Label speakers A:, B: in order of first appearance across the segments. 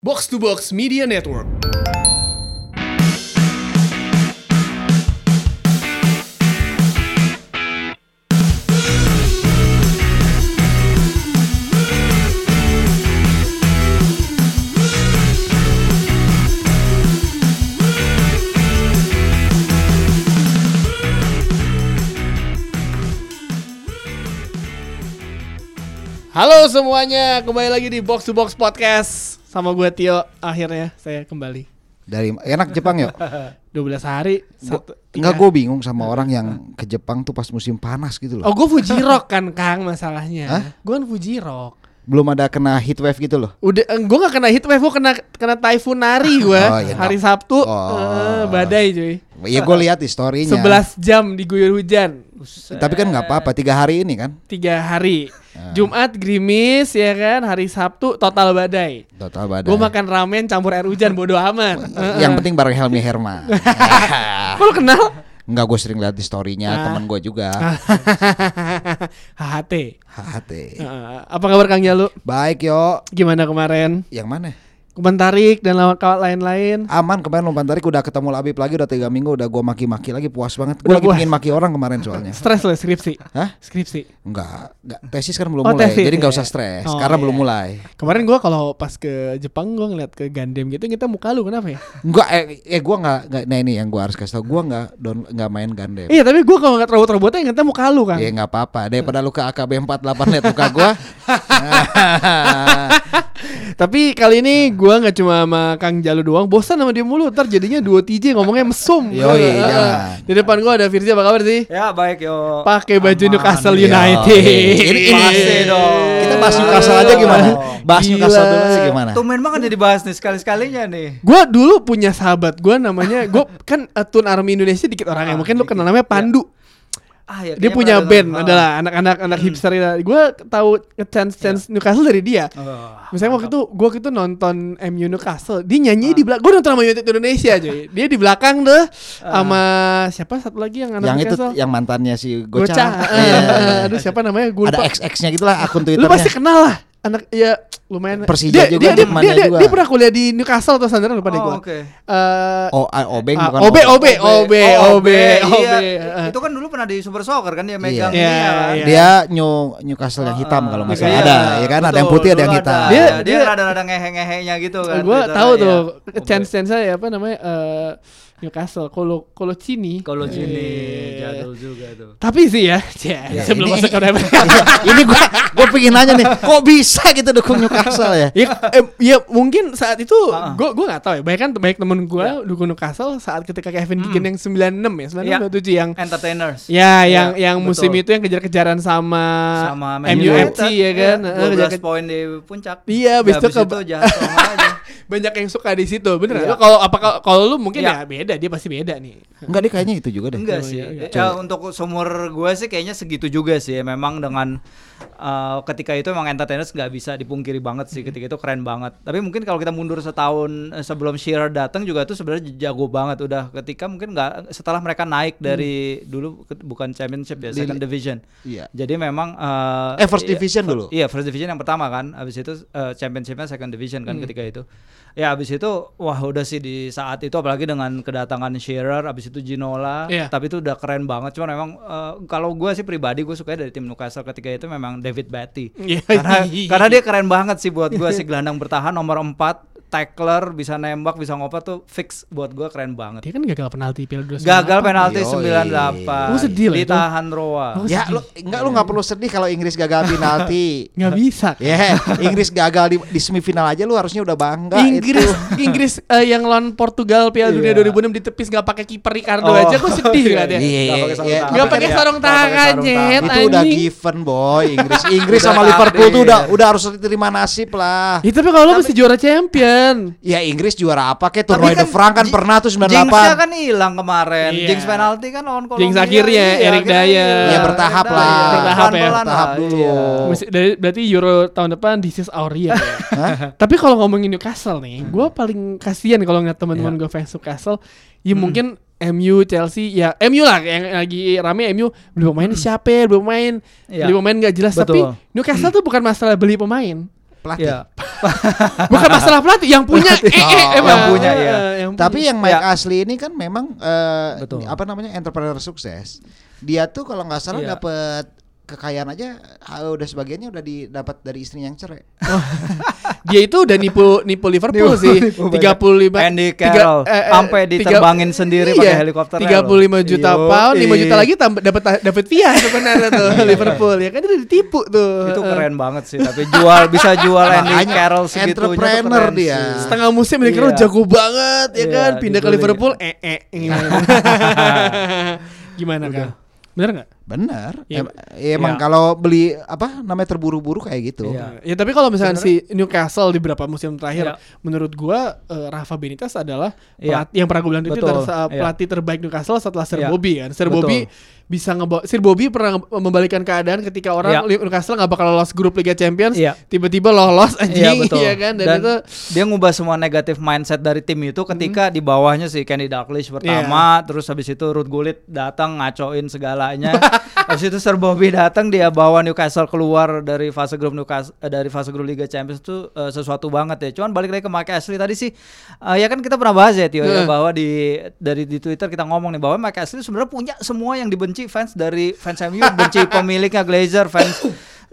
A: Box to Box Media Network. Halo semuanya, kembali lagi di Box to Box Podcast sama gue Tio. Akhirnya saya kembali.
B: dari enak Jepang yuk
A: 12 hari.
B: Gua-
A: Satu,
B: Enggak
A: tiga-
B: gue bingung sama orang yang ke Jepang tuh pas musim panas gitu
A: Oh
B: loh
A: gue Fuji Rock kan Kang
B: Hah?
A: masalahnya. Gue kan Fuji Rock.
B: Belum ada kena heat wave gitu loh
A: Udah, gue gak kena heatwave, gue kena kena typhoon nari gue
B: Oh, iya,
A: hari
B: dok.
A: Sabtu
B: Oh.
A: eh, badai cuy.
B: Ya gue lihat di storynya
A: 11 jam diguyur hujan. Buset.
B: Tapi kan nggak apa-apa tiga hari ini kan
A: tiga hari.
B: Ah.
A: Jumat gerimis ya kan, hari Sabtu total badai.
B: Total badai
A: Gue makan ramen campur air hujan bodo amat. Heeh.
B: Yang penting bareng Helmi Herman
A: Kok lu kenal?
B: Enggak gue sering lihat di storynya
A: Ah.
B: temen gue juga
A: HHT.
B: Hati
A: Heeh. apa kabar Kang Jalu?
B: Baik yo
A: Gimana kemarin?
B: Yang mana?
A: Komentarik dan lawan- kawan lain-lain.
B: Aman kemarin lompat tarik udah ketemu Labib lagi udah tiga minggu udah gue maki-maki lagi puas banget Gue
A: Udah
B: lagi
A: puas.
B: pengen maki orang kemarin soalnya
A: Stres lo skripsi.
B: Hah?
A: Skripsi.
B: Enggak, enggak. tesis kan
A: Oh,
B: belum mulai,
A: tesis,
B: jadi nggak
A: iya.
B: usah stres
A: Oh,
B: karena belum
A: iya.
B: mulai.
A: Kemarin gua kalau pas ke Jepang gua ngeliat ke Gundam gitu kita muka lu kenapa ya?
B: Enggak, eh, eh gue nggak, nggak- nah ini yang gue harus kasih tau, gue nggak don, nggak main Gundam.
A: Iya tapi gua kalau ngeliat robot-robotnya ngeliatnya muka lu kan.
B: Ya nggak apa-apa, daripada lu ke AKB 48 liat muka gue.
A: Tapi kali ini gua nggak cuma sama Kang Jalu doang, bosan sama dia mulu. Ntar jadinya duo TJ ngomongnya mesum.
B: Yoi,
A: Ah.
B: jangan.
A: Di depan gua ada Firza apa kabar sih?
C: Ya baik yo.
A: Pakai baju
C: Aman.
A: Newcastle
B: Iya.
A: United.
B: Ini- ini-
C: Pasti dong.
B: Kita bahas Newcastle aja gimana? Bahas
A: Gila.
B: Newcastle dulu aja gimana?
C: Tumben banget jadi bahas nih sekali-sekalinya nih.
A: Gua dulu punya sahabat gua namanya gua kan eh, Tun Army Indonesia dikit orang
C: Ah,
A: yang mungkin lu
C: dikit.
A: kenal namanya Pandu.
C: Ah, ya,
A: Dia
C: kayaknya
A: punya
C: pernah
A: band
C: dengar.
A: adalah anak-anak
B: Hmm.
A: anak hipster. Gua tahu chance
B: Iya.
A: chance Newcastle dari dia.
C: Oh,
A: Misalnya waktu itu gue waktu itu nonton MU Newcastle, dia
B: Ah.
A: nyanyi di belakang. Gue nonton sama United Indonesia aja. Dia di belakang deh sama siapa satu lagi yang anak
B: Ah. yang itu
A: Newcastle.
B: yang mantannya si Gocha.
A: Gocha.
B: Iya.
A: Eh, Aduh siapa namanya? Gue
B: Ada XX-nya gitulah
A: Lu
B: akun
A: pasti
B: Twitternya.
A: kenal lah anak ya lumayan.
B: Persija
A: dia,
B: juga,
A: dia, dia,
B: Jerman
A: dia, dia,
B: juga.
A: dia pernah kuliah di Newcastle atau sana lupa deh
C: Oh,
A: gue.
C: oke.
A: Eh,
B: Oh, ah, Obeng
A: Ah,
B: bukan.
A: Obe,
B: Obeng.
A: Obe, Obe, Obe,
C: Iya,
A: Obe. Eh.
C: Itu kan dulu pernah di Super Soccer kan dia
A: Iya.
C: megang ini ya, kan?
A: Iya.
B: Dia New Newcastle yang hitam
C: Ah,
B: kalau nggak
A: Iya,
B: salah
A: iya.
B: ada, ya kan ada yang
C: Betul,
B: putih ada yang
C: dulu
B: hitam. Iya.
C: Dia
A: Dia-
C: dia
A: dia-
C: rada-rada ngehe-ngehenya gitu
A: gue
C: kan. Twitternya,
A: tahu
C: iya.
A: tuh
C: Oke.
A: chance chance saya apa namanya eh, Newcastle. Kalau kalau Cini.
C: Kalau sini
A: Eh,
C: jadul juga tuh.
A: Tapi sih ya, ya,
C: Iya.
A: sebelum
B: ini-
A: masuk ke Premier.
B: Ini gua gua pengen nanya nih, kok bisa kita dukung Newcastle ya?
A: ya, eh, ya mungkin saat itu
C: Ah.
A: gue gue nggak tahu ya. Banyak kan banyak temen gue dukung Newcastle saat ketika Kevin Keegan yang 96 ya, 96
C: Hmm. Iya.
A: 97 yang
C: Entertainers.
A: ya yang
C: Iya,
A: yang musim
C: betul.
A: itu yang kejar-kejaran sama,
C: sama Man
A: MUFC
C: United,
A: ya kan.
C: iya,
A: Eh,
C: 12
A: kejar-kejar-
C: poin di puncak. Ya,
A: Iya, abis itu ke-
C: jatuh aja.
A: banyak yang suka di situ. Bener. nggak?
C: Iya.
A: Lu Kalau apa kalau lu mungkin
C: Iya.
A: ya beda, dia pasti beda nih.
B: Enggak dia kayaknya itu juga deh.
C: Enggak
A: Oh,
C: sih.
A: iya, iya.
C: Ya, untuk seumur gue sih kayaknya segitu juga sih. Memang dengan uh, ketika itu emang entertainers nggak bisa dipungkiri banget sih. Ketika itu keren banget. Tapi mungkin kalau kita mundur setahun eh, sebelum Shearer datang juga tuh sebenarnya jago banget udah. Ketika mungkin nggak setelah mereka naik dari dulu ke- bukan championship ya,
B: Di-
C: second division.
B: Iya.
C: Jadi memang uh,
B: Eh, first
C: iya,
B: division
C: fir-
B: dulu.
C: Iya first division yang pertama kan. Abis itu eh, championshipnya second division
A: Hmm.
C: kan ketika itu. Ya abis itu wah udah sih di saat itu apalagi dengan kedatangan Shearer, abis itu Ginola.
A: Iya.
C: Tapi itu udah keren banget. Cuman memang eh, kalau gue sih pribadi gue suka dari tim Newcastle ketika itu memang David Batty.
A: Iya.
C: Karena karena dia keren banget sih buat gue sih gelandang bertahan nomor 4 tackler bisa nembak bisa ngoper tuh fix buat gue keren banget.
A: Dia kan gagal penalti Piala 2019.
C: Gagal penalti
B: Yoi.
C: 98.
A: Gua Oh, sedih lah itu.
C: Ditahan Roa.
A: Gua
B: Ya lu enggak lu nggak perlu sedih kalau Inggris gagal penalti.
A: Nggak bisa.
B: Ya, Inggris gagal di, di semifinal aja lu harusnya udah bangga
A: Inggris
B: itu.
A: Inggris eh, yang lawan Portugal Piala Dunia
C: Iya.
A: 2006 ditepis nggak pakai kiper Ricardo
C: Oh.
A: aja gue sedih
C: Iya,
A: liatnya.
B: iya.
C: Nggak pakai
A: Nggak pakai sarung
B: Iya,
C: sarung tangan. Iya. Nggak pakai
A: tangan,
C: sarung
A: nyet.
B: Itu udah
A: anjing.
B: given boy Inggris. Inggris sama
C: Udah Iya.
B: Liverpool tuh
C: takdir.
B: udah udah harus terima nasib lah.
A: Ya, tapi kalau lo mesti juara champion.
B: Ya Inggris juara apa kek
C: Tapi
B: Tournoi de
C: kan
B: France kan
C: Ji-
B: pernah tuh
C: Jinxnya
B: 98.
C: kan hilang kemarin.
A: Iya.
C: Jinx penalti kan lawan Kolombia.
A: Jinx akhirnya, Eric
C: akhirnya
A: Dyer.
C: hilang.
B: Ya, bertahap
C: Eric
B: lah.
C: Dyer.
A: Bertahap ya.
C: Pelan-pelan
B: Bertahap
C: lah,
B: dulu.
C: iya.
A: Mesti- dari- berarti Euro tahun depan this is our year. ya. tapi kalau ngomongin Newcastle nih, gue
C: Hmm.
A: paling kasihan kalau ngeliat teman-teman
C: Iya.
A: gue fans Newcastle. Ya
C: Hmm.
A: mungkin MU, Chelsea, ya MU lah yang lagi rame MU beli pemain siapa, ya, beli pemain,
C: Iya.
A: beli pemain nggak jelas. Tapi
C: Betul.
A: Newcastle tuh bukan masalah beli pemain.
B: pelatih.
C: Iya.
A: Bukan masalah pelatih yang punya
C: Pelatih.
A: eh, eh,
B: Oh,
A: emang.
B: yang punya,
C: iya.
A: Eh, yang
B: Tapi
A: punya.
B: yang Mike
C: Ya.
B: Ashley ini kan memang eh,
C: Betul.
B: apa namanya entrepreneur sukses. Dia tuh kalau nggak salah
C: Iya.
B: dapet kekayaan aja ah, udah sebagiannya udah didapat dari istrinya yang cerai.
A: dia itu udah nipu nipu Liverpool
C: Nipu-
A: sih.
C: nipu
A: 35
C: Andy
A: tiga-
C: Carroll,
A: eh, eh, tiga-
C: sampai
A: iya,
C: diterbangin sendiri pakai helikopternya loh.
A: 35 juta
C: Yoi. Iya,
A: pound, 5 juta lagi tambah dapat dapat via sebenarnya tuh Liverpool ya kan dia ditipu tuh.
C: itu
A: Eh,
C: keren banget sih tapi jual bisa jual Andy
B: Makanya
C: Carroll segitunya tuh
B: entrepreneur
C: keren
B: dia.
C: sih.
A: Setengah musim Andy
C: Iya.
A: Carroll jago banget ya
C: Iya,
A: kan pindah ke
C: dibeli.
A: Liverpool eh eh. eh. Gimana kan? Bener nggak?
B: Bener.
A: Iya.
B: Em- emang
C: Iya.
B: kalau beli apa namanya terburu-buru kayak gitu.
C: Iya.
A: Ya tapi kalau misalkan si Newcastle di beberapa musim terakhir,
C: Iya.
A: menurut gua eh, Rafa Benitez adalah
C: Iya.
A: pelatih- yang pernah gua bilang di
C: Betul,
A: Twitter sa-
C: iya.
A: pelatih terbaik Newcastle setelah Sir
C: Iya.
A: Bobby kan. Sir
C: Betul.
A: Bobby bisa ngebawa Sir Bobby pernah nge- membalikan keadaan ketika orang Newcastle nggak bakal lolos grup Liga Champions,
C: Iya.
A: tiba-tiba lolos
C: Iya
A: anjing
C: betul.
A: ya kan dan, itu
C: dia ngubah semua negatif mindset dari tim itu
A: Mm-hmm.
C: ketika di bawahnya sih Kenny Dalglish
A: Iya.
C: pertama, terus habis itu Ruth Gullit datang ngacoin segalanya. habis itu Sir Bobby datang dia bawa Newcastle keluar dari fase grup Newcastle eh, dari fase grup Liga Champions itu eh, sesuatu banget ya. Cuman balik lagi ke Mike Ashley tadi sih eh, ya kan kita pernah bahas ya Tio
A: Iya.
C: ya, bahwa di dari di Twitter kita ngomong nih bahwa Mike Ashley sebenarnya punya semua yang dibenci fans dari fans MU, benci pemiliknya Glazer, fans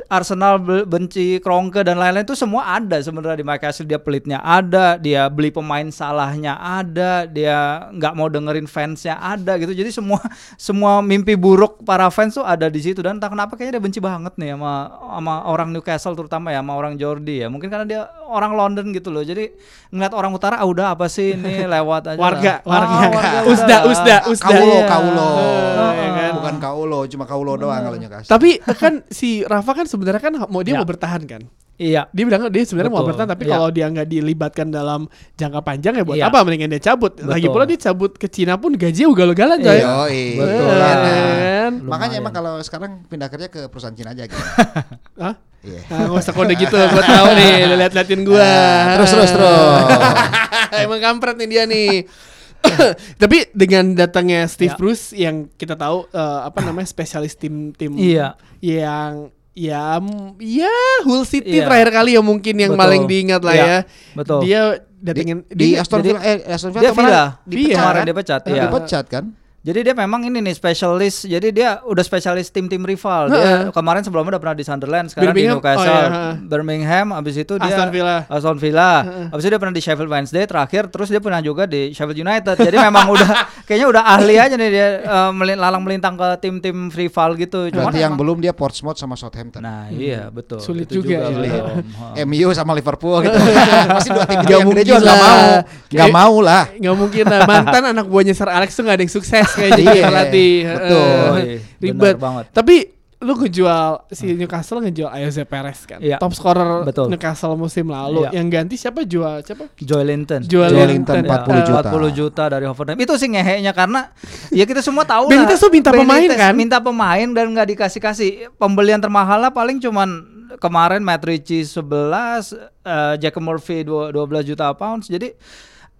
C: Arsenal be- benci Kronke dan lain-lain itu semua ada sebenarnya di Mike Ashley dia pelitnya ada dia beli pemain salahnya ada dia nggak mau dengerin fansnya ada gitu jadi semua semua mimpi buruk para fans tuh ada di situ dan entah kenapa kayaknya dia benci banget nih sama sama orang Newcastle terutama ya sama orang Jordi ya mungkin karena dia orang London gitu loh jadi ngeliat orang utara ah udah apa sih ini lewat aja lah."
A: warga,
C: Ah,
A: warga,
C: udah
A: usda,
C: lah.
A: usda, usda.
B: Kaulo,
C: Iya.
B: kaulo.
A: Eh, ya kan?
B: Bukan kaulo, cuma kaulo doang kalau Newcastle.
A: Tapi eh, kan si Rafa kan sebenarnya kan mau dia
C: Iya.
A: mau bertahan kan.
C: iya
A: dia bilang dia sebenarnya mau
C: Betul,
A: bertahan tapi
C: iya.
A: kalau dia nggak dilibatkan dalam jangka panjang ya buat
C: Iya.
A: apa mendingan dia cabut lagi
C: Betul.
A: pula dia cabut ke Cina pun gaji ugal-ugalan coy
B: Iya, iya.
C: Betul
A: Eh,
C: lah.
A: kan?
B: Makanya
C: Lumayan.
B: emang kalau sekarang pindah kerja ke perusahaan Cina aja gitu.
A: Hah?
B: Iya.
A: Ah, nggak usah kode gitu gua tahu nih lu liat-liatin gua
B: Ah, terus terus terus.
A: Iya. emang kampret nih dia nih tapi dengan datangnya Steve
C: Iya.
A: Bruce yang kita tahu eh, apa namanya spesialis tim tim
C: Iya.
A: yang ya m- ya Hull City
C: Iya.
A: terakhir kali ya mungkin yang
C: Betul.
A: paling diingat lah
C: Iya,
A: ya
C: betul.
A: dia datengin
B: di,
A: dia-
B: Aston
C: jadi-
B: Villa eh Aston Villa
C: dia
B: kemarin
C: Villa.
A: Iya.
B: dipecat
C: kemarin
B: kan?
C: dia pecat
A: Iya.
C: ya
B: Dipecat kan?
C: Jadi dia memang ini nih spesialis. Jadi dia udah spesialis tim-tim rival. Dia kemarin sebelumnya udah pernah di Sunderland, sekarang
A: Birmingham,
C: di Newcastle,
A: oh iya, ha.
C: Birmingham, habis itu dia
A: Aston Villa.
C: Aston Villa. Habis itu dia pernah di Sheffield Wednesday terakhir, terus dia pernah juga di Sheffield United. Jadi memang udah kayaknya udah ahli aja nih dia eh, melin- lalang melintang ke tim-tim rival gitu. Cuman
B: Berarti yang
C: emang-
B: belum dia Portsmouth sama Southampton.
C: Nah, iya betul.
A: Sulit
C: Itu
A: juga ya.
C: belum. Ha.
B: MU sama Liverpool gitu. Masih dua
A: Nggak
B: tim itu yang gede
A: mungkin
B: juga nggak
A: lah.
B: mau. Nggak
A: Kayak-
B: mau lah.
A: nggak mungkin lah mantan anak buahnya Sir Alex tuh nggak ada yang sukses kayaknya
B: Iya,
A: jadi pelatih
B: betul.
A: Heeh.
C: Iya,
A: ribet
C: benar banget.
A: tapi lu ngejual si Newcastle ngejual Jose Perez kan
C: Iya,
A: top scorer
C: betul.
A: Newcastle musim lalu
C: Iya.
A: yang ganti siapa jual siapa
C: Joy Linton.
A: Joy
B: Linton, 40
C: Ya,
B: juta.
C: 40 juta dari Hoffenheim. Itu sih ngeheknya karena ya kita semua tahu lah.
A: Benitez tuh minta pemain,
C: Benitez
A: kan?
C: Minta pemain dan nggak dikasih-kasih. Pembelian termahalnya paling cuman kemarin Matt Ritchie 11, eh, Jack Murphy dua- 12 juta pounds. Jadi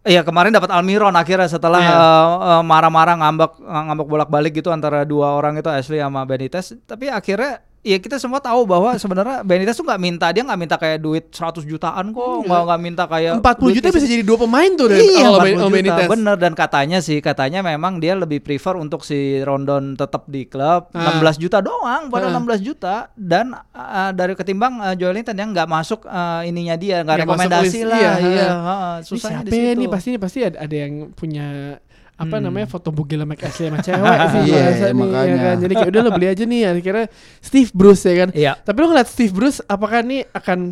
C: ya kemarin dapat Almiron akhirnya setelah
A: Iya.
C: eh, eh, marah-marah ngambek ngambek bolak-balik gitu antara dua orang itu Ashley sama Benitez. Tapi akhirnya ya kita semua tahu bahwa sebenarnya Benitez tuh nggak minta dia nggak minta kayak duit 100 jutaan
A: Iya.
C: kok, nggak nggak minta kayak
A: 40
C: duit
A: juta
C: kecil.
A: bisa jadi gitu dua pemain tuh dari
C: Iya,
A: kalau
C: 40
A: main- main
C: juta.
A: Benitez.
C: Bener dan katanya sih katanya memang dia lebih prefer untuk si Rondon tetap di klub
A: Ah.
C: 16 juta doang, pada
A: Ah.
C: 16 juta dan uh, dari ketimbang uh, Joel Linton yang nggak masuk uh, ininya dia, nggak
A: Nggak masuk
C: rekomendasi
A: list,
C: lah.
A: iya,
C: Iya,
A: ha.
C: ha,
A: Ini
C: susahnya
A: siapa
C: di situ.
A: nih pasti pasti ada, ada yang punya apa
C: Hmm.
A: namanya foto bugil sama asli sama cewek sih
B: Iya,
A: biasa nih, ya
B: makanya.
A: kan? jadi kayak udah lo beli aja nih akhirnya Steve Bruce ya kan
C: Iya.
A: tapi lo ngeliat Steve Bruce apakah nih akan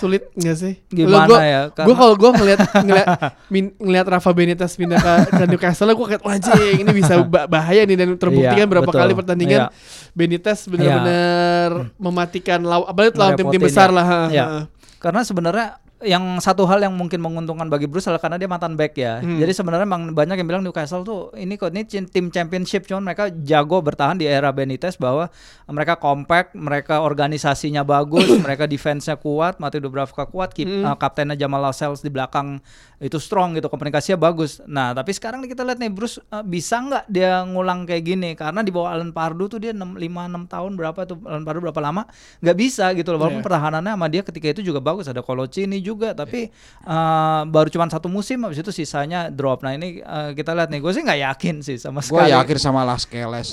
A: sulit nggak sih
C: Ah. Gimana
A: gua,
C: ya, karena-
A: gue kalau gue ngeliat ngeliat min- ngeliat Rafa Benitez pindah ke, ke Newcastle gue kayak anjing ini bisa ba- bahaya nih dan terbukti
C: Iya,
A: kan berapa
C: betul.
A: kali pertandingan
C: Iya.
A: Benitez benar-benar mematikan lawan apalagi lawan tim-tim
C: Ngerepotin
A: besar
C: ya.
A: lah ha,
C: Iya.
A: ha.
C: Karena sebenarnya yang satu hal yang mungkin menguntungkan bagi Bruce adalah karena dia mantan back ya.
A: Hmm.
C: Jadi sebenarnya memang banyak yang bilang Newcastle tuh ini kok ini cin- tim championship cuman mereka jago bertahan di era Benitez bahwa mereka compact, mereka organisasinya bagus, mereka defense-nya kuat, Mati Dubravka kuat, keep,
A: Hmm.
C: eh, kaptennya Jamal Lascelles di belakang itu strong gitu, komunikasinya bagus. Nah, tapi sekarang nih kita lihat nih Bruce eh, bisa nggak dia ngulang kayak gini karena di bawah Alan Pardew tuh dia 6 5 6 tahun berapa tuh Alan Pardew berapa lama nggak bisa gitu loh walaupun
A: Iya.
C: pertahanannya sama dia ketika itu juga bagus ada Kolocini juga tapi
B: Iya.
C: eh, baru cuman satu musim habis itu sisanya drop nah ini eh, kita lihat nih gue sih nggak yakin sih sama
B: Gue
C: sekali
B: yakin sama Las Keles.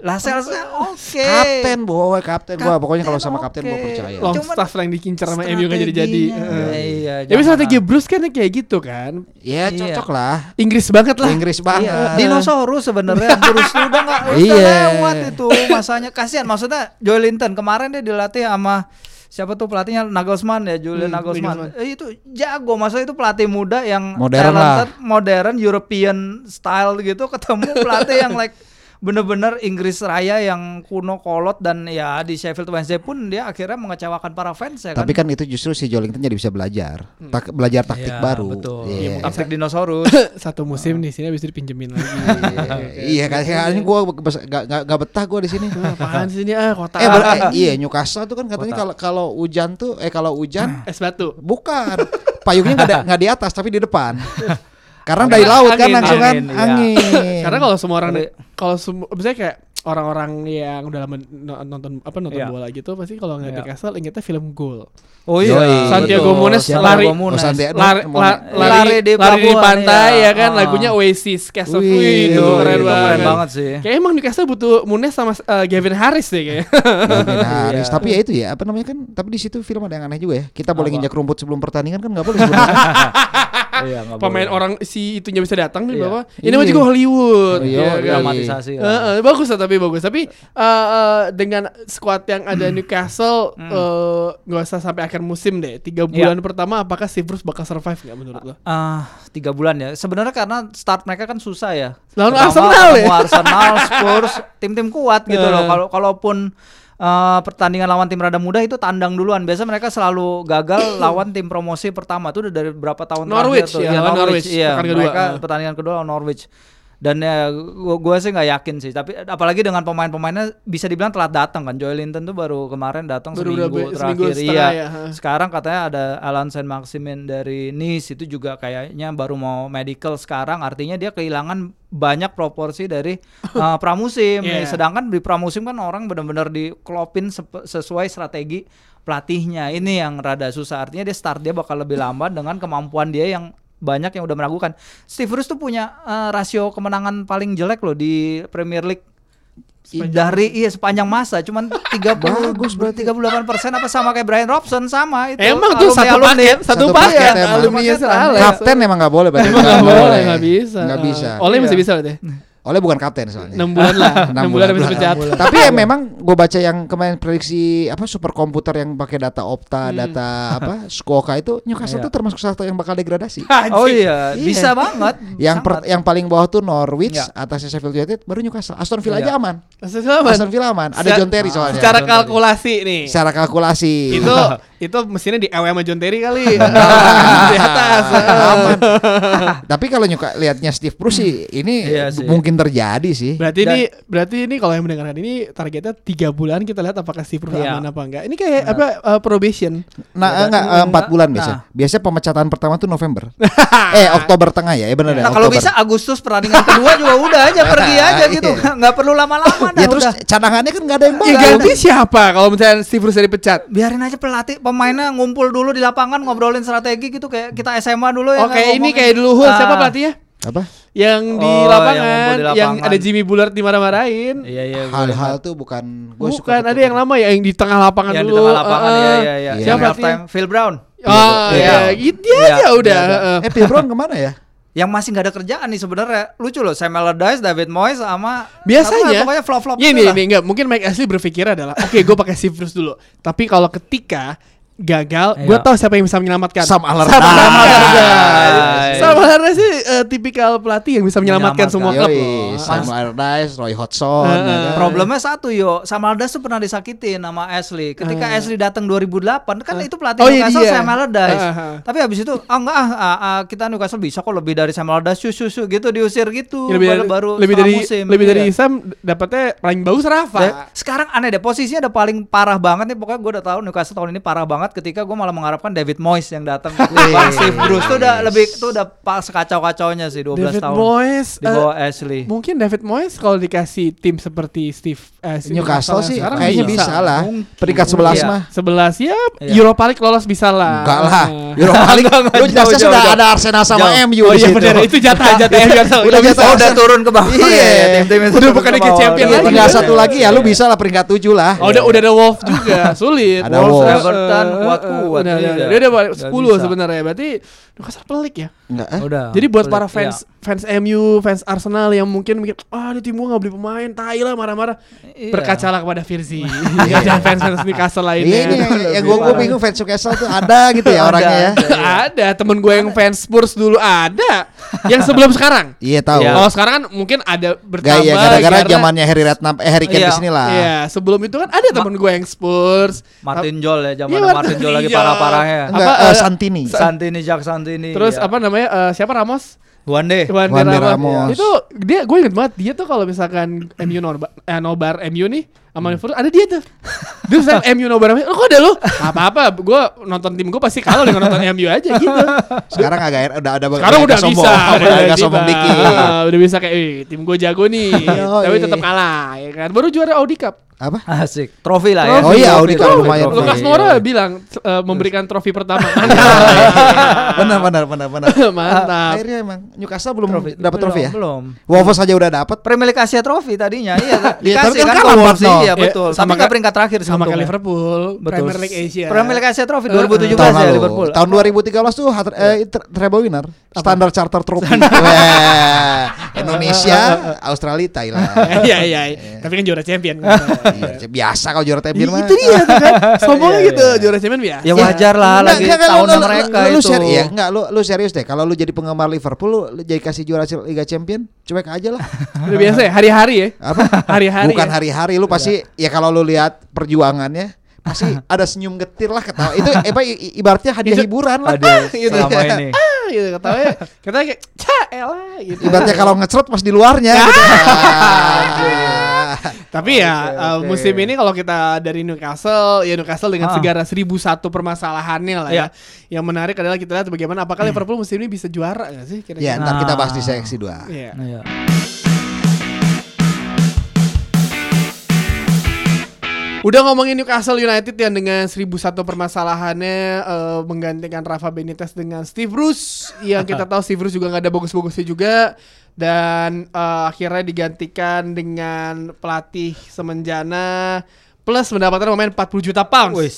C: Lascelles oke
B: Kapten boy, kapten gue. Pokoknya kalau sama kapten
C: gue
B: gue percaya.
A: Long
C: Cuman
A: staff yang dikincar sama kan MU nggak jadi-jadi.
C: strateginya, iya,
A: Ya tapi
C: jangan.
A: strategi Bruce kan kayak gitu kan.
B: Ya
C: Iya.
B: cocok lah.
A: Inggris banget lah.
B: Inggris
C: Iya,
B: banget.
C: dinosaurus sebenarnya Bruce Lee udah nggak udah
B: Iya.
C: lewat itu masanya kasihan maksudnya Joel Linton kemarin dia dilatih sama siapa tuh pelatihnya Nagelsmann ya Julian
A: Hmm,
C: Nagelsmann.
A: Nagelsmann.
C: Eh, itu jago maksudnya itu pelatih muda yang
B: Modern lah.
C: talented, modern European style gitu ketemu pelatih yang like bener-bener Inggris Raya yang kuno kolot dan ya di Sheffield Wednesday pun dia akhirnya mengecewakan para fans ya
B: Tapi kan itu justru si Jolington jadi bisa belajar, Tak- belajar taktik
C: Iya,
B: baru.
C: betul.
B: Iya.
C: Iya, taktik dinosaurus
A: Satu musim di sini habis itu dipinjemin lagi.
B: Iya, kayaknya gue gak, gak, gak betah gue di sini.
A: Apaan sih ini ah kota
B: eh, ber- eh, iya Newcastle tuh kan katanya
C: Kota.
B: kalau kalau hujan tuh, eh kalau hujan
A: es batu.
B: bukan payungnya nggak ada- nggak di atas tapi di depan. Karena dari laut kan
A: Angin,
B: langsung kan
C: angin, iya.
B: angin.
A: Karena kalau semua orang
C: Tapi-
A: kalau semua misalnya kayak orang-orang yang udah lama no- nonton apa nonton
C: Iya.
A: bola gitu pasti kalau ngeliat
C: Iya.
A: Newcastle ingetnya film Goal.
C: oh
B: Yoi.
A: iya, Santiago
C: betul.
A: Munes lari.
C: Santiago Munes.
B: Oh, Santiago
A: Lari,
B: Mon-
A: la-
C: Iya.
B: Mon-
A: lari,
C: Lari
A: di
C: di
A: lari di
C: pelabuhan,
A: pantai
C: iya.
A: ya kan
C: Ah. Iya,
A: lagunya Oasis Castle
B: Wih,
A: Wih, itu
B: yoi,
A: keren
C: itu
A: banget.
C: keren banget sih
A: Kayak emang Newcastle butuh Munes sama eh, Gavin Harris deh kayaknya.
B: Gavin Harris.
C: Iya.
B: Tapi ya itu ya apa namanya kan. Tapi di situ film ada yang aneh juga ya. Kita boleh
C: Apa?
B: nginjak rumput sebelum pertandingan kan nggak boleh. sebenarnya.
C: Iya, nggak
A: Pemain
C: boleh.
A: orang si itunya bisa datang di
C: Iya.
A: bawah. Ini
B: Iya.
A: mah juga Hollywood.
B: Iya,
A: ya kan?
C: dramatisasi lah.
A: Eh, eh, bagus lah tapi bagus tapi eh, eh, dengan squad yang ada Newcastle
B: Hmm.
A: eh, nggak usah sampai akhir musim deh tiga bulan
B: Iya.
A: pertama apakah si Bruce bakal survive nggak menurut lo?
C: Ah, tiga bulan ya. Sebenarnya karena start mereka kan susah ya.
A: Lawan
C: Pertama
A: Arsenal
C: ketemu
A: ya?
C: Arsenal, Spurs, tim-tim kuat gitu
A: Eh.
C: loh. Kalau kalaupun eh, pertandingan lawan tim rada muda itu tandang duluan. Biasa mereka selalu gagal lawan tim promosi pertama tuh udah dari berapa tahun
A: Norwich,
C: terakhir tuh.
A: ya,
C: Iya,
A: lawan Norwich,
C: Iya,
A: pekan kedua.
C: mereka
A: Eh.
C: pertandingan kedua lawan Norwich. Dan ya gua, gua sih nggak yakin sih. Tapi apalagi dengan pemain-pemainnya bisa dibilang telat datang kan. Joel Linton tuh baru kemarin datang
A: Baru
C: seminggu
A: berapa- seminggu
C: terakhir.
A: setengah
C: iya.
A: ya, ha.
C: Sekarang katanya ada Alan Saint Maximin dari Nice itu juga kayaknya baru mau medical sekarang artinya dia kehilangan banyak proporsi dari uh, pramusim.
A: Yeah.
C: Sedangkan di pramusim kan orang benar-benar dikelopin sep- sesuai strategi pelatihnya. Ini yang rada susah. Artinya dia start dia bakal lebih lambat dengan kemampuan dia yang banyak yang udah meragukan. Steve Bruce tuh punya uh, rasio kemenangan paling jelek loh di Premier League I- dari iya sepanjang masa cuman 30
B: Bagus berarti.
C: 38% apa sama kayak Brian Robson sama itu.
A: Eh, Emang tuh
C: Alumni-
A: satu
C: alumni.
A: paket, satu,
B: Satu
A: paket,
B: paket emang.
A: alumni
C: Satu
A: Sir
C: paketan.
A: Alex.
B: kapten emang nggak boleh. berarti.
A: Emang nggak boleh, nggak bisa.
B: Nggak bisa.
A: Oleh masih
C: Iya.
A: bisa berarti.
B: Oleh bukan kapten soalnya.
A: Enam bulan lah,
B: Enam
A: enam bulan
B: bulan,
A: habis
B: enam
A: pecat.
C: bulan.
B: Tapi ya memang gue baca yang kemarin prediksi apa superkomputer yang pakai data
A: Hmm.
B: Opta, data apa Skoka itu Newcastle
C: Iya.
B: tuh termasuk salah satu yang bakal degradasi.
C: Oh iya,
B: Iya.
C: bisa banget.
B: yang per-
C: Sangat.
B: yang paling bawah tuh Norwich,
C: Iya.
B: atasnya Sheffield United, baru Newcastle. Aston Villa aja
C: Iya.
B: aman.
A: Maksud lo apa?
B: Aston Villa aman. Ada
A: Secara-
B: John Terry soalnya.
A: Secara
C: John Terry.
A: kalkulasi nih.
B: Secara kalkulasi.
A: itu itu mesinnya di AW sama John Terry kali. di atas.
B: aman. Tapi kalau nyuka lihatnya Steve Bruce sih ini
C: Iya sih.
B: mungkin terjadi sih.
A: Berarti
C: Dan-
A: ini berarti ini kalau yang mendengarkan ini targetnya tiga bulan kita lihat apakah si Bruce
C: Iya.
A: aman apa enggak. Ini kayak apa uh, probation.
B: Nah,
C: Berarti-
B: enggak eh, empat
C: Nah.
B: bulan biasa. Biasanya pemecatan pertama tuh November. eh Oktober tengah ya, ya bener ya.
C: Nah, kalau
B: Oktober.
C: bisa Agustus pertandingan kedua juga udah aja pergi aja
B: Iya.
C: gitu. nggak perlu lama-lama dah
B: Ya terus
C: udah.
B: cadangannya kan nggak ada yang
C: Iya,
A: Yang
B: bakal.
A: ganti siapa kalau misalnya si Bruce dipecat?
C: Biarin aja pelatih pemainnya ngumpul dulu di lapangan ngobrolin strategi gitu kayak kita SMA dulu ya.
A: Oke,
C: kan,
A: ini
C: ngomongin.
A: kayak dulu Hul siapa
C: Ah.
A: pelatihnya?
B: Apa?
A: Yang di
C: Oh, yang
A: lapangan,
C: ngumpul di
A: yang,
C: lapangan.
A: ada Jimmy Bullard dimarah-marahin.
C: Iya iya. gua
B: Hal-hal tuh bukan gua suka
A: Bukan,
B: tuh
A: ada yang lama ya yang di tengah lapangan
C: yang
A: dulu.
C: di tengah lapangan
A: Heeh.
C: ya ya ya.
B: Iya.
C: Yang
A: eh, Siapa
C: halftime, Phil Brown.
A: Ah,
C: Iya.
A: ya, gitu
C: Iya,
A: aja
C: iya,
A: udah.
C: iya.
A: heeh.
B: Eh Phil Brown kemana ya?
C: Yang masih nggak ada kerjaan nih sebenarnya. Lucu loh, Sam Allardyce, David Moyes sama
A: Biasanya Iya,
C: sama pokoknya flop-flop gitu
A: Ini
C: itulah.
A: ini enggak mungkin Mike Ashley berpikir adalah oke gue pakai si Bruce dulu. Tapi kalau ketika gagal, gue
C: Iya.
A: tahu siapa yang bisa menyelamatkan.
B: Sam Allardyce.
A: Kan. Sam Allardyce.
C: Allardyce.
A: Sam Allardyce sih eh, tipikal pelatih yang bisa menyelamatkan, semua klub
C: Menyelamatkan.
B: Yoi,
A: loh.
B: Sam Allardyce, Roy Hodgson ya
A: Eh.
B: kan?
C: Problemnya satu yo, Sam Allardyce tuh pernah disakitin sama Ashley. Ketika Ashley datang 2008 kan itu
A: Eh.
C: pelatih
A: Oh, iya,
C: Newcastle
A: dia.
C: Sam Allardyce.
A: Ah, ah, ah.
C: Tapi habis itu ah enggak ah, ah, ah, kita Newcastle bisa kok lebih dari Sam Allardyce su, su, su, gitu diusir gitu.
A: Ya, lebih dari
C: Padahal baru
A: lebih
C: setengah
A: dari
C: musim.
A: lebih dari
C: Iya.
A: Sam dapatnya paling bagus Rafa.
C: Dan sekarang aneh deh posisinya udah paling parah banget nih pokoknya gue udah tahu Newcastle tahun ini parah banget ketika gue malah mengharapkan David Moyes yang datang Bang Steve Bruce tuh udah lebih tuh udah pas kacau-kacaunya sih 12
A: David
C: tahun
A: Moyes
C: di
A: eh,
C: bawah iya. Ashley
A: mungkin David Moyes kalau dikasih tim seperti Steve eh, Steve
B: Newcastle
A: yang
B: sih
A: sekarang
B: kayaknya bisa, lah
C: Mungkin.
B: peringkat 11
C: Iya.
B: mah
A: 11 ya
C: Iya.
A: Europa League lolos bisa lah.
B: enggak lah
A: Eh.
B: Europa League
C: Enggak, enggak,
B: lu jelasnya
C: jauh,
B: sudah
C: jauh,
B: ada Arsenal sama
C: Jauh.
B: MU
A: Oh
B: di
A: iya
B: situ.
A: benar itu jatah jatah Newcastle.
B: Udah jatah.
C: Oh, udah turun ke bawah.
B: Iya.
C: Ya, tim-tim itu
A: Udah
C: turun
A: bukan Liga
C: bawah,
A: Champion
C: udah
B: Iya,
A: lagi.
B: tinggal
C: turun.
B: satu lagi ya lu bisa lah peringkat 7 lah
A: Oh, udah udah ada Wolf juga, sulit.
B: Ada
A: Wolves,
B: Wolf.
A: eh,
C: Everton
A: eh,
C: kuat-kuat,
A: Udah, udah,
C: iya.
A: udah. Dia udah
C: Nggak
A: 10
C: bisa.
A: sebenarnya. Berarti Newcastle pelik ya.
B: Enggak, eh?
C: Udah.
A: Jadi buat
C: Sulit,
A: para
C: iya.
A: fans fans MU, fans Arsenal yang mungkin mikir, "Ah, ini tim gua enggak beli pemain, tai lah marah-marah."
C: Iya.
A: Berkacalah kepada Virzi. Dan fans-fans Newcastle
B: Iya
A: lainnya.
B: ini yang, yang gue
C: parah.
B: bingung fans Newcastle tuh ada gitu ya
C: Ada,
B: orangnya ya.
C: ada.
A: ada temen gue yang fans Spurs dulu ada yang sebelum sekarang
B: Iya tahu.
C: Iya.
A: kalau sekarang kan mungkin ada
B: Gak
A: bertambah
B: ya gara-gara
A: karena-
B: zamannya Harry Ratnam eh Harry Kane
C: Iya,
B: kesini lah.
A: Iya, sebelum itu kan ada temen gue yang Spurs.
C: Martin Jol ya zaman
A: Iya,
C: Martin,
A: Martin
C: Jol lagi
A: Jol.
C: parah-parahnya.
B: Enggak,
A: Apa,
B: eh,
A: eh,
B: Santini.
C: Santini Jack Santini.
A: Terus
C: iya.
A: apa namanya? eh, siapa Ramos?
C: Wande.
A: Juan de
B: Juan de
A: Ramos.
B: Eh, Ramos.
A: Itu dia gue inget banget dia tuh kalau misalkan MU nobar, eh, nobar MU nih sama
B: Hmm.
A: Liverpool ada dia tuh. Terus saya MU nobar MU, "Lo kok ada lu? Apa-apa, gue nonton tim gue pasti kalah dengan nonton MU aja gitu.
B: Sekarang agak udah ada
A: Sekarang udah
B: sombong.
A: bisa,
B: udah agak
A: tiba.
B: sombong dikit.
A: Ah, udah bisa kayak, "Wih, tim gue jago nih."
B: Yoi.
A: tapi tetap kalah ya kan. Baru juara Audi Cup.
B: Apa?
C: Asik. Trofi lah ya.
B: Oh iya, Audi Cup
C: Trofi,
B: lumayan.
C: trofi.
A: Lukas Moura bilang eh, memberikan trofi pertama. Mantap.
B: benar benar benar benar.
A: Mantap.
B: Akhirnya emang Newcastle belum
C: Eh, Trofi.
B: dapat trofi ya?
C: Belum.
B: Wolves aja udah dapat.
C: Premier League Asia Trophy tadinya iya
B: Iya, tapi
C: dikasih
B: kan
C: kan ke
B: kalah
C: Wolves
B: 4-0.
C: iya
A: Iya,
C: betul
A: sama
C: sama
A: kayak-
C: peringkat terakhir
A: sama
C: sih
A: kayak
C: untungnya.
A: Liverpool,
C: ya? Betul.
A: Premier League Asia.
C: Premier League Asia Trophy
A: Eh,
C: 2017
B: Tahun
C: ya
B: lalu.
C: Liverpool Iya.
B: Tahun 2013 tuh hat- eh, tre- treble winner. Standard Charter Trophy. Wah, Indonesia, Australia, Thailand.
A: Iya iya. iya. Tapi kan juara champion.
B: Iya, biasa kalau juara champion mah.
A: itu dia tuh kan. Sombongnya
C: Iya, iya,
A: gitu
C: iya.
A: juara champion biasa.
C: Ya wajar lah
B: Enggak,
C: lagi
B: enggak, enggak, lu-
C: tahunnya
B: lu-
C: mereka
B: lu, lu
C: itu.
B: seri- ya, enggak, lu, lu serius deh kalau lu jadi penggemar Liverpool lu, lu jadi kasih juara Liga Champion cuek aja lah
A: Udah biasa ya hari-hari ya.
B: apa
A: Hari-hari.
B: bukan
A: ya. Iya.
B: hari-hari lu pasti ya kalau lu lihat perjuangannya pasti ada senyum getir lah ketawa itu eh, apa, i- i- ibaratnya hadiah
A: Itu-
B: hiburan lah
C: Aduh,
B: gitu.
C: selama ini.
A: Ah, gitu ketawanya. Ketawanya kayak ca elah gitu.
C: Iya.
B: ibaratnya kalau ngecrot pas di luarnya gitu. Ah.
A: Tapi ya eh,
C: oke.
A: musim ini kalau kita dari Newcastle, ya Newcastle dengan
C: Ah.
A: segara 1001 permasalahannya lah
C: Iya. Hmm.
A: ya. Yang menarik adalah kita lihat bagaimana apakah Liverpool musim ini bisa juara nggak sih
B: ya
C: nah.
A: kira-kira?
B: ntar kita bahas di seksi dua
A: Iya.
C: Iya.
A: Udah ngomongin Newcastle United yang dengan 1001 permasalahannya eh, menggantikan Rafa Benitez dengan Steve Bruce yang kita tahu Steve Bruce juga nggak ada bagus-bagusnya juga dan eh, akhirnya digantikan dengan pelatih semenjana plus mendapatkan pemain 40 juta
C: Wis.
A: pounds.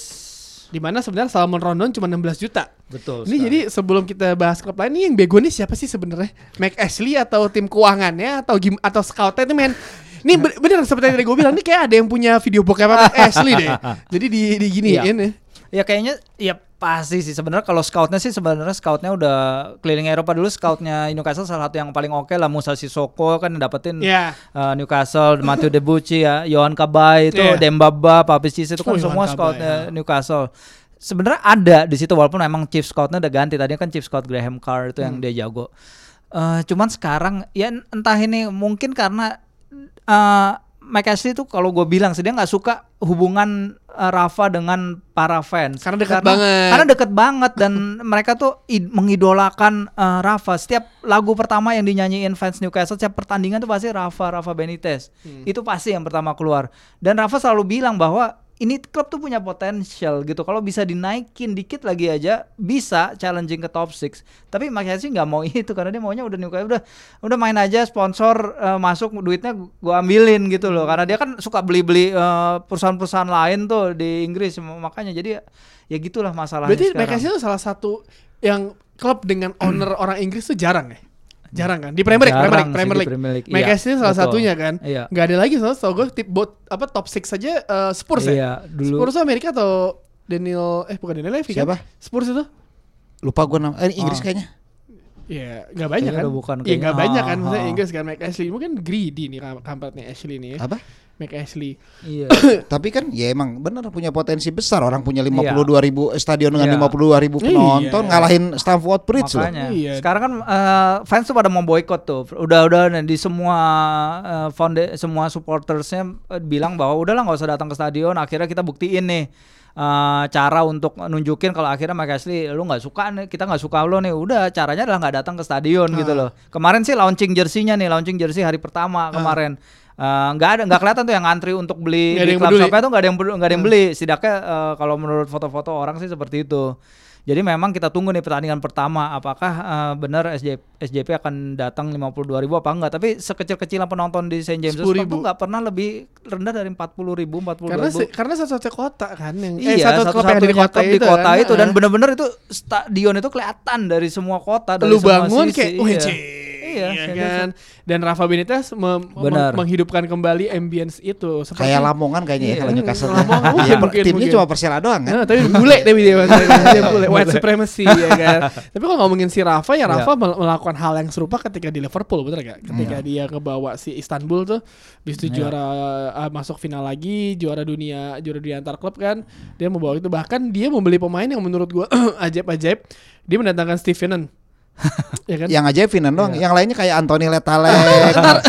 A: Di mana sebenarnya Salmon Rondon cuma 16 juta.
C: Betul.
A: Ini jadi sebelum kita bahas klub lain nih yang bego nih siapa sih sebenarnya? Mike Ashley atau tim keuangannya atau gim atau scoutnya itu men? Ini ben- bener seperti yang tadi gue bilang nih kayak ada yang punya video bokep apa Mike Ashley deh. Jadi di di giniin
C: Iya.
A: ya.
C: Ya kayaknya ya pasti sih sebenarnya kalau scoutnya sih sebenarnya scoutnya udah keliling Eropa dulu scoutnya Newcastle salah satu yang paling oke lah Musa Sissoko kan dapetin
A: Iya.
C: eh, Newcastle Matthew Debuchy ya Johan Kabay itu
A: Iya.
C: Dembaba Papis Cisse itu
A: Oh,
C: kan
A: Johan
C: semua
A: Kabay,
C: scoutnya
A: ya.
C: Newcastle sebenarnya ada di situ walaupun emang chief scoutnya udah ganti tadinya kan chief scout Graham Carr itu yang
A: Hmm.
C: dia jago Eh, cuman sekarang ya en- entah ini mungkin karena eh Mike Ashley itu kalau gue bilang sih dia nggak suka hubungan eh, Rafa dengan para fans
A: Karena dekat banget.
C: karena deket banget dan mereka tuh id- mengidolakan eh, Rafa setiap lagu pertama yang dinyanyiin fans Newcastle setiap pertandingan tuh pasti Rafa Rafa Benitez itu pasti yang pertama keluar dan Rafa selalu bilang bahwa ini klub tuh punya potensial gitu kalau bisa dinaikin dikit lagi aja bisa challenging ke top 6 tapi makanya sih nggak mau itu karena dia maunya udah Newcastle udah udah main aja sponsor eh, masuk duitnya gua ambilin gitu loh karena dia kan suka beli-beli eh, perusahaan-perusahaan lain tuh di Inggris makanya jadi ya- ya gitulah masalahnya
A: Berarti Mike
C: sekarang.
A: Ashley itu salah satu yang klub dengan owner orang Inggris tuh jarang ya. Jarang kan di Premier League, Premier
C: Jarang
A: League,
C: sih
A: Premier
C: di
A: League.
C: Premier League,
A: Mike
C: iya.
A: Ashley salah
C: Betul.
A: satunya kan.
C: Iya.
A: Nggak ada lagi soalnya tau gue tip bot apa top 6 aja eh, Spurs ya.
C: Iya, dulu.
A: Spurs tuh Amerika atau Daniel eh bukan Daniel Levy
B: Siapa?
A: kan? Spurs itu Oh.
B: lupa gue nama eh, Inggris
C: Ah.
B: kayaknya
A: Ya, nggak banyak
C: Kayaknya
A: kan?
C: udah bukan
A: ya nggak
C: kayaknya.
A: banyak kan?
C: Ah,
A: Maksudnya
C: ah.
A: Inggris kan, Mike Ashley. Mungkin greedy nih kam- kampretnya Ashley nih ya.
B: Apa?
A: Mike Ashley.
C: Iya.
B: Tapi kan ya emang benar punya potensi besar orang punya 52 ribu eh, stadion
C: Iya.
B: dengan 52 ribu
A: Iya.
B: penonton ngalahin Stamford Bridge loh.
C: Makanya.
A: Iya.
C: Sekarang kan eh, fans tuh pada mau boykot tuh. Udah-udah di semua eh, founda- semua supportersnya eh, bilang bahwa udahlah nggak usah datang ke stadion. Akhirnya kita buktiin nih eh, cara untuk nunjukin kalau akhirnya Mike Ashley lu nggak suka nih, kita nggak suka lo nih. Udah caranya adalah nggak datang ke stadion
A: Ah.
C: gitu loh. Kemarin sih launching jersinya nih, launching jersey hari pertama kemarin. Eh, nggak ada nggak kelihatan tuh yang ngantri untuk
A: Nggak
C: beli
A: ada
C: di
A: yang
C: club
A: peduli.
C: shopnya tuh nggak ada yang peduli- nggak ada
A: Hmm.
C: yang beli setidaknya eh, kalau menurut foto-foto orang sih seperti itu jadi memang kita tunggu nih pertandingan pertama apakah eh, benar SJ SJP akan datang 52.000 ribu apa enggak tapi sekecil-kecilan penonton di St James
A: 10.000.
C: tuh nggak pernah lebih rendah dari 40.000 ribu 40
A: Karena se- karena satu-satunya kota kan yang
C: Iya, satu
A: klub yang ada
C: satunya klub di kota
A: kan.
C: itu dan
A: Ah.
C: benar-benar itu stadion itu kelihatan dari semua kota dari
A: lu
C: semua
A: bangun
C: sisi,
A: kayak
C: iya.
A: wah
C: Iya, gitu.
A: iya, kan dan Rafa Benitez mem-
C: Benar.
A: meng- menghidupkan kembali ambience itu seperti
B: Kayak Lamongan kayaknya ya
C: Iya.
B: kalau Newcastle.
A: Lamongan
B: Iya,
A: mungkin,
B: per-
A: mungkin,
B: timnya
A: mungkin.
B: cuma Persela doang kan.
A: Nah, tapi bule tapi dia maksudnya dia bule white supremacy ya kan. Tapi kalau ngomongin si Rafa ya Rafa mel- melakukan hal yang serupa ketika di Liverpool bener gak? Ketika dia ngebawa si Istanbul tuh bis itu juara ah, masuk final lagi, juara dunia, juara dunia antar klub kan. Dia membawa itu bahkan dia membeli pemain yang menurut gua ajaib-ajaib. Dia mendatangkan Stevenan. ya kan?
B: Yang aja Finan doang, yang lainnya kayak Anthony Letalek,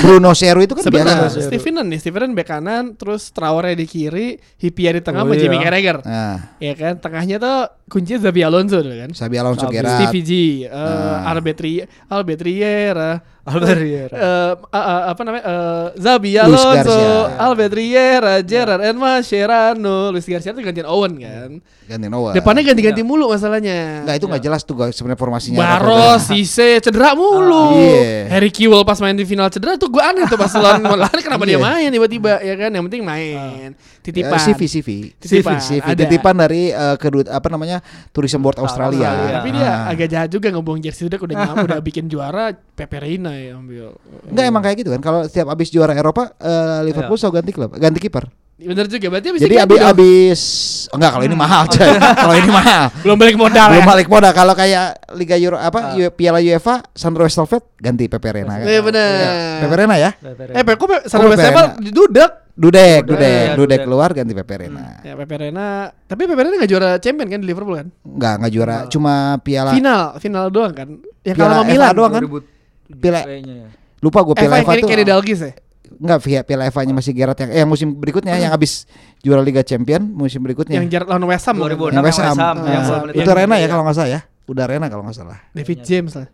B: Bruno Seru itu kan
A: Sebentar,
B: biasa.
A: Stevenan nih, Stevenan bek kanan, terus Traore di kiri, Hipia di tengah
C: Oh,
A: sama
C: iya.
A: Jimmy Carragher.
B: Nah,
A: Ya kan, tengahnya tuh kuncinya Xabi Alonso dulu kan.
B: Sabi Alonso
C: Sabi.
B: Gerrard.
A: Stevie G,
B: Nah.
A: uh, Albert Ri- Albert Riera,
C: Albert Riera.
A: eh, eh, eh, apa namanya, eh, Zabi
B: Luis
A: Alonso,
B: Garcia. Iya.
A: Albert Riera, Gerard Enma, Sherano, Luis Garcia itu gantian Owen kan.
B: Ganti Noah.
A: Depannya Iya. ganti-ganti mulu masalahnya.
B: Enggak itu nggak jelas tuh guys, sebenarnya formasinya.
A: Baros, Sise, cedera mulu.
B: Iya.
A: Harry Kewell pas main di final cedera tuh gua aneh tuh pas lawan lawan kenapa dia
B: Iya.
A: main tiba-tiba ya kan. Yang penting main. Titipan.
B: Eh, CV CV
A: Titipan,
B: CV
A: ada.
B: titipan dari eh, kedut apa namanya tourism board Australia.
C: Australia.
A: Tapi dia
B: Ah.
A: agak jahat juga ngebuang jersey udah udah nyam, udah bikin juara Pepe Reina ya ambil.
B: Enggak emang kayak gitu kan kalau setiap abis juara Eropa eh, Liverpool
A: Iya.
B: selalu ganti klub, ganti kiper.
A: Bener juga berarti abis
B: Jadi
A: itu
B: abis
A: udah-
B: abis oh, enggak kalau ini mahal coy. kalau ini mahal.
A: belum balik modal
B: Belum
A: Hmm. ya. Ah.
B: balik modal kalau kayak Liga Euro apa U- Piala UEFA Sandro Westerveld ganti Pepe Reina.
A: Iya bener.
B: Pepe Reina ya.
A: Eh Pepe kok Pepe-
B: Kok
A: Sandro
B: Pepe
A: Westerveld dudek.
B: Dudek, Dudek,
C: Dudek. Iya,
B: Dudek
C: Dudek.
B: keluar ganti Pepe Reina.
A: Ya Pepe Reina, tapi Pepe Reina gak juara champion kan di Liverpool kan?
C: Hmm.
B: Enggak, enggak juara, cuma piala
A: Final, final doang kan. Yang
B: Piala
A: kalah sama
B: FA
A: Milan Eh,
B: doang kan?
C: 2007
B: Pila-
C: kayaknya ya.
B: Lupa gue
A: FA
B: Piala Eva
A: ini
B: tuh
A: Kenny Dalgis ya?
B: Enggak via Piala Eva nya masih Gerard yang eh yang musim berikutnya
C: Hmm.
B: yang habis juara Liga Champion musim berikutnya
A: Yang jarak lawan West Ham.
C: 2006.
A: bukan?
B: yang West
C: Yang
B: Ham.
C: West Ham, yang
B: Ah,
C: bola balik
B: itu
C: yang-
B: Rena ya
C: iya.
B: kalau nggak salah ya. Udah Rena kalau nggak salah.
A: David James lah.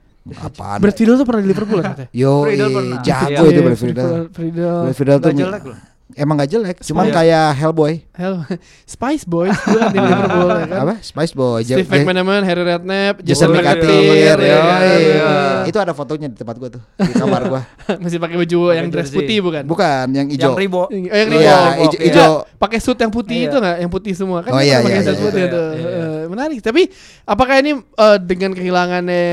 B: Apaan?
A: Brad Friedel tuh pernah di Liverpool kan? katanya?
B: Yo,
C: Friedel pernah.
B: jago
C: Iya,
B: Oh, itu
A: Iya,
B: Brad Friedel.
A: Friedel.
B: Brad Friedel tuh
C: Nggak jelek loh.
B: emang nggak jelek, cuman
C: Iya.
B: kayak Hellboy.
A: Hell, Spice Boys juga di Liverpool ya kan?
B: Apa? Spice Boy. Ja-
A: Steve
B: Ja-
A: McManaman, Harry Redknapp,
B: Jason
A: Jason
C: Bourne,
B: McAteer.
A: McAteer,
C: Bourne,
A: ya kan?
B: yoi.
C: iya.
B: Itu ada fotonya di tempat gua tuh, di kamar gua.
A: masih pakai baju yang
C: Pakai
A: dress
C: jersey.
A: putih bukan?
B: Bukan yang
C: Yang
B: hijau.
C: Ribo.
A: Eh, yang
C: Iya,
A: Reebok.
B: Oh, ijo-
A: Enggak,
B: ijo.
A: pakai suit yang putih
C: Iya.
A: itu nggak? Yang putih semua kan?
B: Oh,
A: dia
B: iya,
A: pakai
B: iya,
A: suit
B: iya,
A: putih
C: iya,
A: itu.
C: iya, iya.
A: Eh, menarik. Tapi apakah ini eh, dengan kehilangannya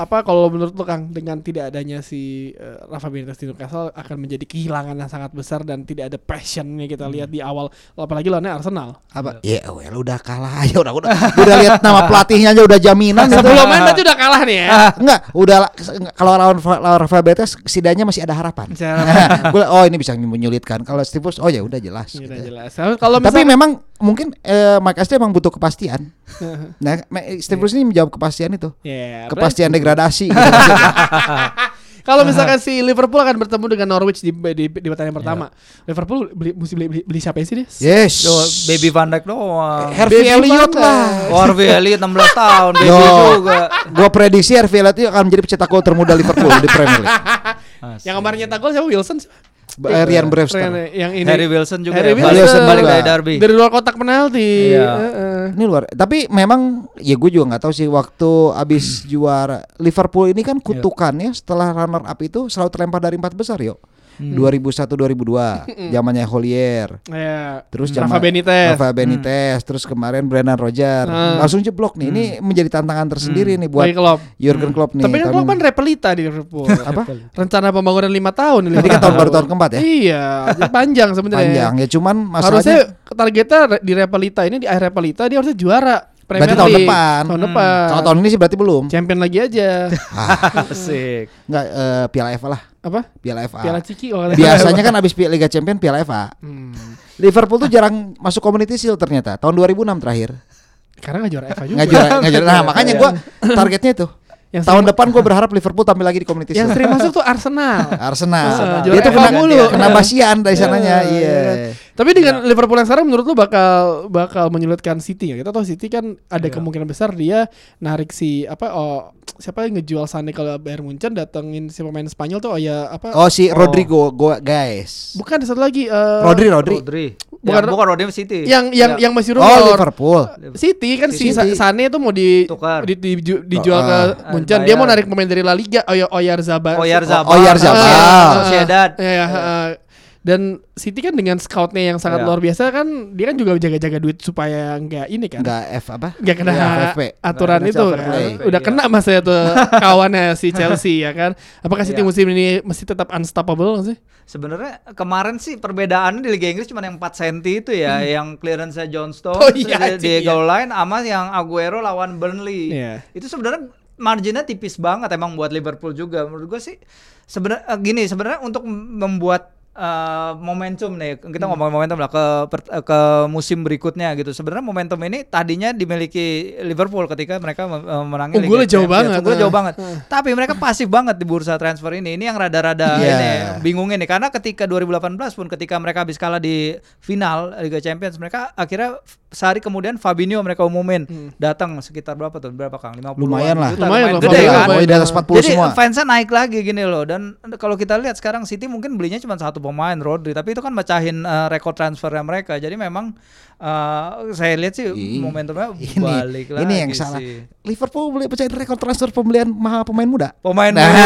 A: apa? Kalau menurut lo Kang, dengan tidak adanya si eh, Rafa Benitez di Newcastle akan menjadi kehilangan yang sangat besar dan tidak ada passionnya kita lihat di awal, apalagi lawannya Arsenal.
B: Apa?
A: Iya,
B: Ya, well, udah kalah aja udah udah. udah lihat nama pelatihnya aja udah jaminan itu.
A: Sebelum main aja udah kalah nih ya.
B: Enggak, udah la- kalau lawan lawan Rafael Benitez setidaknya masih ada harapan.
A: Masih ada harapan.
B: Gua, oh ini bisa menyulitkan. Kalau Steve Bruce, oh ya udah jelas.
A: Ini
B: gitu.
A: udah jelas. Kalau
B: Tapi
A: misalnya
B: memang mungkin eh, Mike Ashley emang butuh kepastian. Nah, Ma- Steve Bruce ini menjawab kepastian itu.
A: Iya. Ya, berarti-
B: Kepastian degradasi. gitu maksudnya.
A: Kalau misalkan si Liverpool akan bertemu dengan Norwich di di, di
B: Iya.
A: pertandingan pertama, Liverpool beli mesti beli, beli, beli siapa sih dia?
B: yes.
C: Yo, Baby Van Dijk doang.
B: Harvey
A: Baby
B: Elliot
A: Van
B: lah.
C: Harvey Elliot 16 tahun, baby
B: Yo.
C: juga.
B: Gua prediksi Harvey Elliot itu akan menjadi pencetak gol termuda Liverpool di Premier League.
A: Yang kemarin nyetak gol siapa Wilson?
B: Ba- eh, Ryan Brewster.
A: Keren, yang ini.
C: Harry Wilson juga
A: Harry
C: ya, balik,
B: Wilson
C: balik dari
B: juga.
C: Derby.
A: Dari luar kotak penalti.
C: Iya.
A: Heeh.
B: Ini luar. Tapi memang ya gue juga nggak tahu sih waktu abis juara Liverpool ini
A: Iya.
B: kan kutukannya setelah runner up itu selalu terlempar dari empat besar yo.
A: Hmm.
B: 2001 2002 zamannya Holier.
A: Iya.
B: Terus
A: Hmm. Rafa
B: zaman-
A: Benitez.
B: Rafa Benitez, terus kemarin Brendan Rodgers.
A: Hmm.
B: Langsung jeblok nih. Ini menjadi tantangan tersendiri nih buat
A: Bagi Klopp.
B: Jurgen Klopp nih.
A: Tapi kan Klopp kan repelita di Liverpool.
B: apa?
A: Rencana pembangunan 5 tahun di
B: Tadi kan tahun baru tahun keempat ya.
A: Iya, jadi panjang sebenarnya.
B: Panjang ya cuman masalahnya
A: harusnya targetnya re- di Repelita ini di akhir Repelita dia harusnya juara. Premier
B: berarti tahun
A: League.
B: depan.
A: Tahun depan.
B: Kalau tahun ini sih berarti belum.
A: Champion lagi aja.
C: Asik.
B: Enggak eh, Piala FA lah,
A: Apa?
B: Piala FA.
A: Piala Ciki kalau nggak salah.
B: Biasanya kan abis Piala- Liga Champion Piala FA.
A: Hmm.
B: Liverpool tuh jarang masuk Community Shield ternyata. Tahun 2006 terakhir.
A: Karena nggak juara FA juga.
C: Iya.
B: Nggak juara, nggak juara. Nah, makanya gua targetnya itu.
A: Yang
B: Tahun
A: sering-
B: depan gua berharap Liverpool tampil lagi di Community
A: Yang
B: Shield.
A: sering masuk tuh Arsenal.
B: Arsenal.
A: Ah,
B: Dia
A: juara
B: tuh
A: FA
B: kena
A: mulu.
B: kena
A: Iya.
B: basian dari sananya.
A: Iya,
B: Iya.
A: iya. Tapi dengan Liverpool yang sekarang menurut lu bakal bakal menyulitkan City ya. Kita tahu City kan ada
B: Iya.
A: kemungkinan besar dia narik si apa oh siapa yang ngejual Sane kalau Bayern Munchen datengin si pemain Spanyol tuh oh ya apa
B: Oh si Rodrigo gua guys.
A: bukan satu lagi eh,
B: Rodri Rodri.
C: Rodri.
A: Bukan-
C: Bukan, bukan Rodri City. Ya.
A: yang yang yang masih rumor
B: Oh Liverpool.
A: City kan si
B: City.
A: Sa- Sane tuh mau di,
C: Tukar.
A: di- di- dijual
B: Oh,
A: ke
B: ah.
A: Munchen. Dia mau
C: Bayar.
A: narik pemain dari La Liga Oh, ya, Oya Oyarzabal.
C: Oyarzabal.
B: Oh,
A: Ah,
B: Oyarzabal. Sociedad.
A: ah, ah.
C: Sociedad.
A: Iya, iya, ah. Dan City kan dengan scoutnya yang sangat
C: Iya.
A: luar biasa kan, dia kan juga jaga-jaga duit supaya nggak ini kan.
B: Enggak F apa?
A: Nggak kena
B: Iya, FFP.
A: aturan
B: Nggak kena
A: itu
B: fair
A: kan.
B: play.
A: Udah
C: Iya.
A: kena mas ya tuh kawannya si Chelsea ya kan. Apakah City
C: Iya.
A: musim ini masih tetap unstoppable nggak sih?
C: Sebenarnya kemarin sih perbedaannya di Liga Inggris cuma yang 4 cm itu ya, yang clearance John Stones,
A: Hmm. Oh, iya,
C: di-
A: iya.
C: Diego Line sama yang Aguero lawan Burnley.
A: Iya.
C: Itu sebenarnya marginnya tipis banget emang buat Liverpool juga. Menurut gua sih sebenarnya eh, gini, sebenarnya untuk membuat eh, momentum nih kita
A: Hmm.
C: ngomong momentum lah ke per- eh, ke musim berikutnya gitu. Sebenarnya momentum ini tadinya dimiliki Liverpool ketika mereka mem- eh, menangi
A: Unggulnya Oh, jauh
C: Champions.
A: banget.
C: Unggulnya jauh
A: Ah.
C: banget banget. Tapi mereka pasif banget di bursa transfer ini. Ini yang
B: Iya.
C: rada-rada ini bingungin nih karena ketika 2018 pun ketika mereka habis kalah di final Liga Champions mereka akhirnya f- sehari kemudian Fabinho mereka umumin datang sekitar berapa tuh? Berapa Kang? 50
B: Hmm. Lumayan lah.
A: Lumayan lah,
B: Udah
C: Gede
A: Fabinho
C: kan?
B: lah,
A: lumayan.
B: di atas 40
C: Jadi
B: semua.
C: fansnya naik lagi gini loh dan kalau kita lihat sekarang City mungkin belinya cuma satu pemain Rodri tapi itu kan mecahin eh, rekor transfernya mereka jadi memang eh, saya lihat sih
B: Ih,
C: momentumnya
B: ini,
C: balik lagi
B: ini yang salah.
C: sih.
B: Liverpool boleh pecahin rekor transfer pembelian mahal pemain muda.
C: Pemain
B: Nah.
C: muda.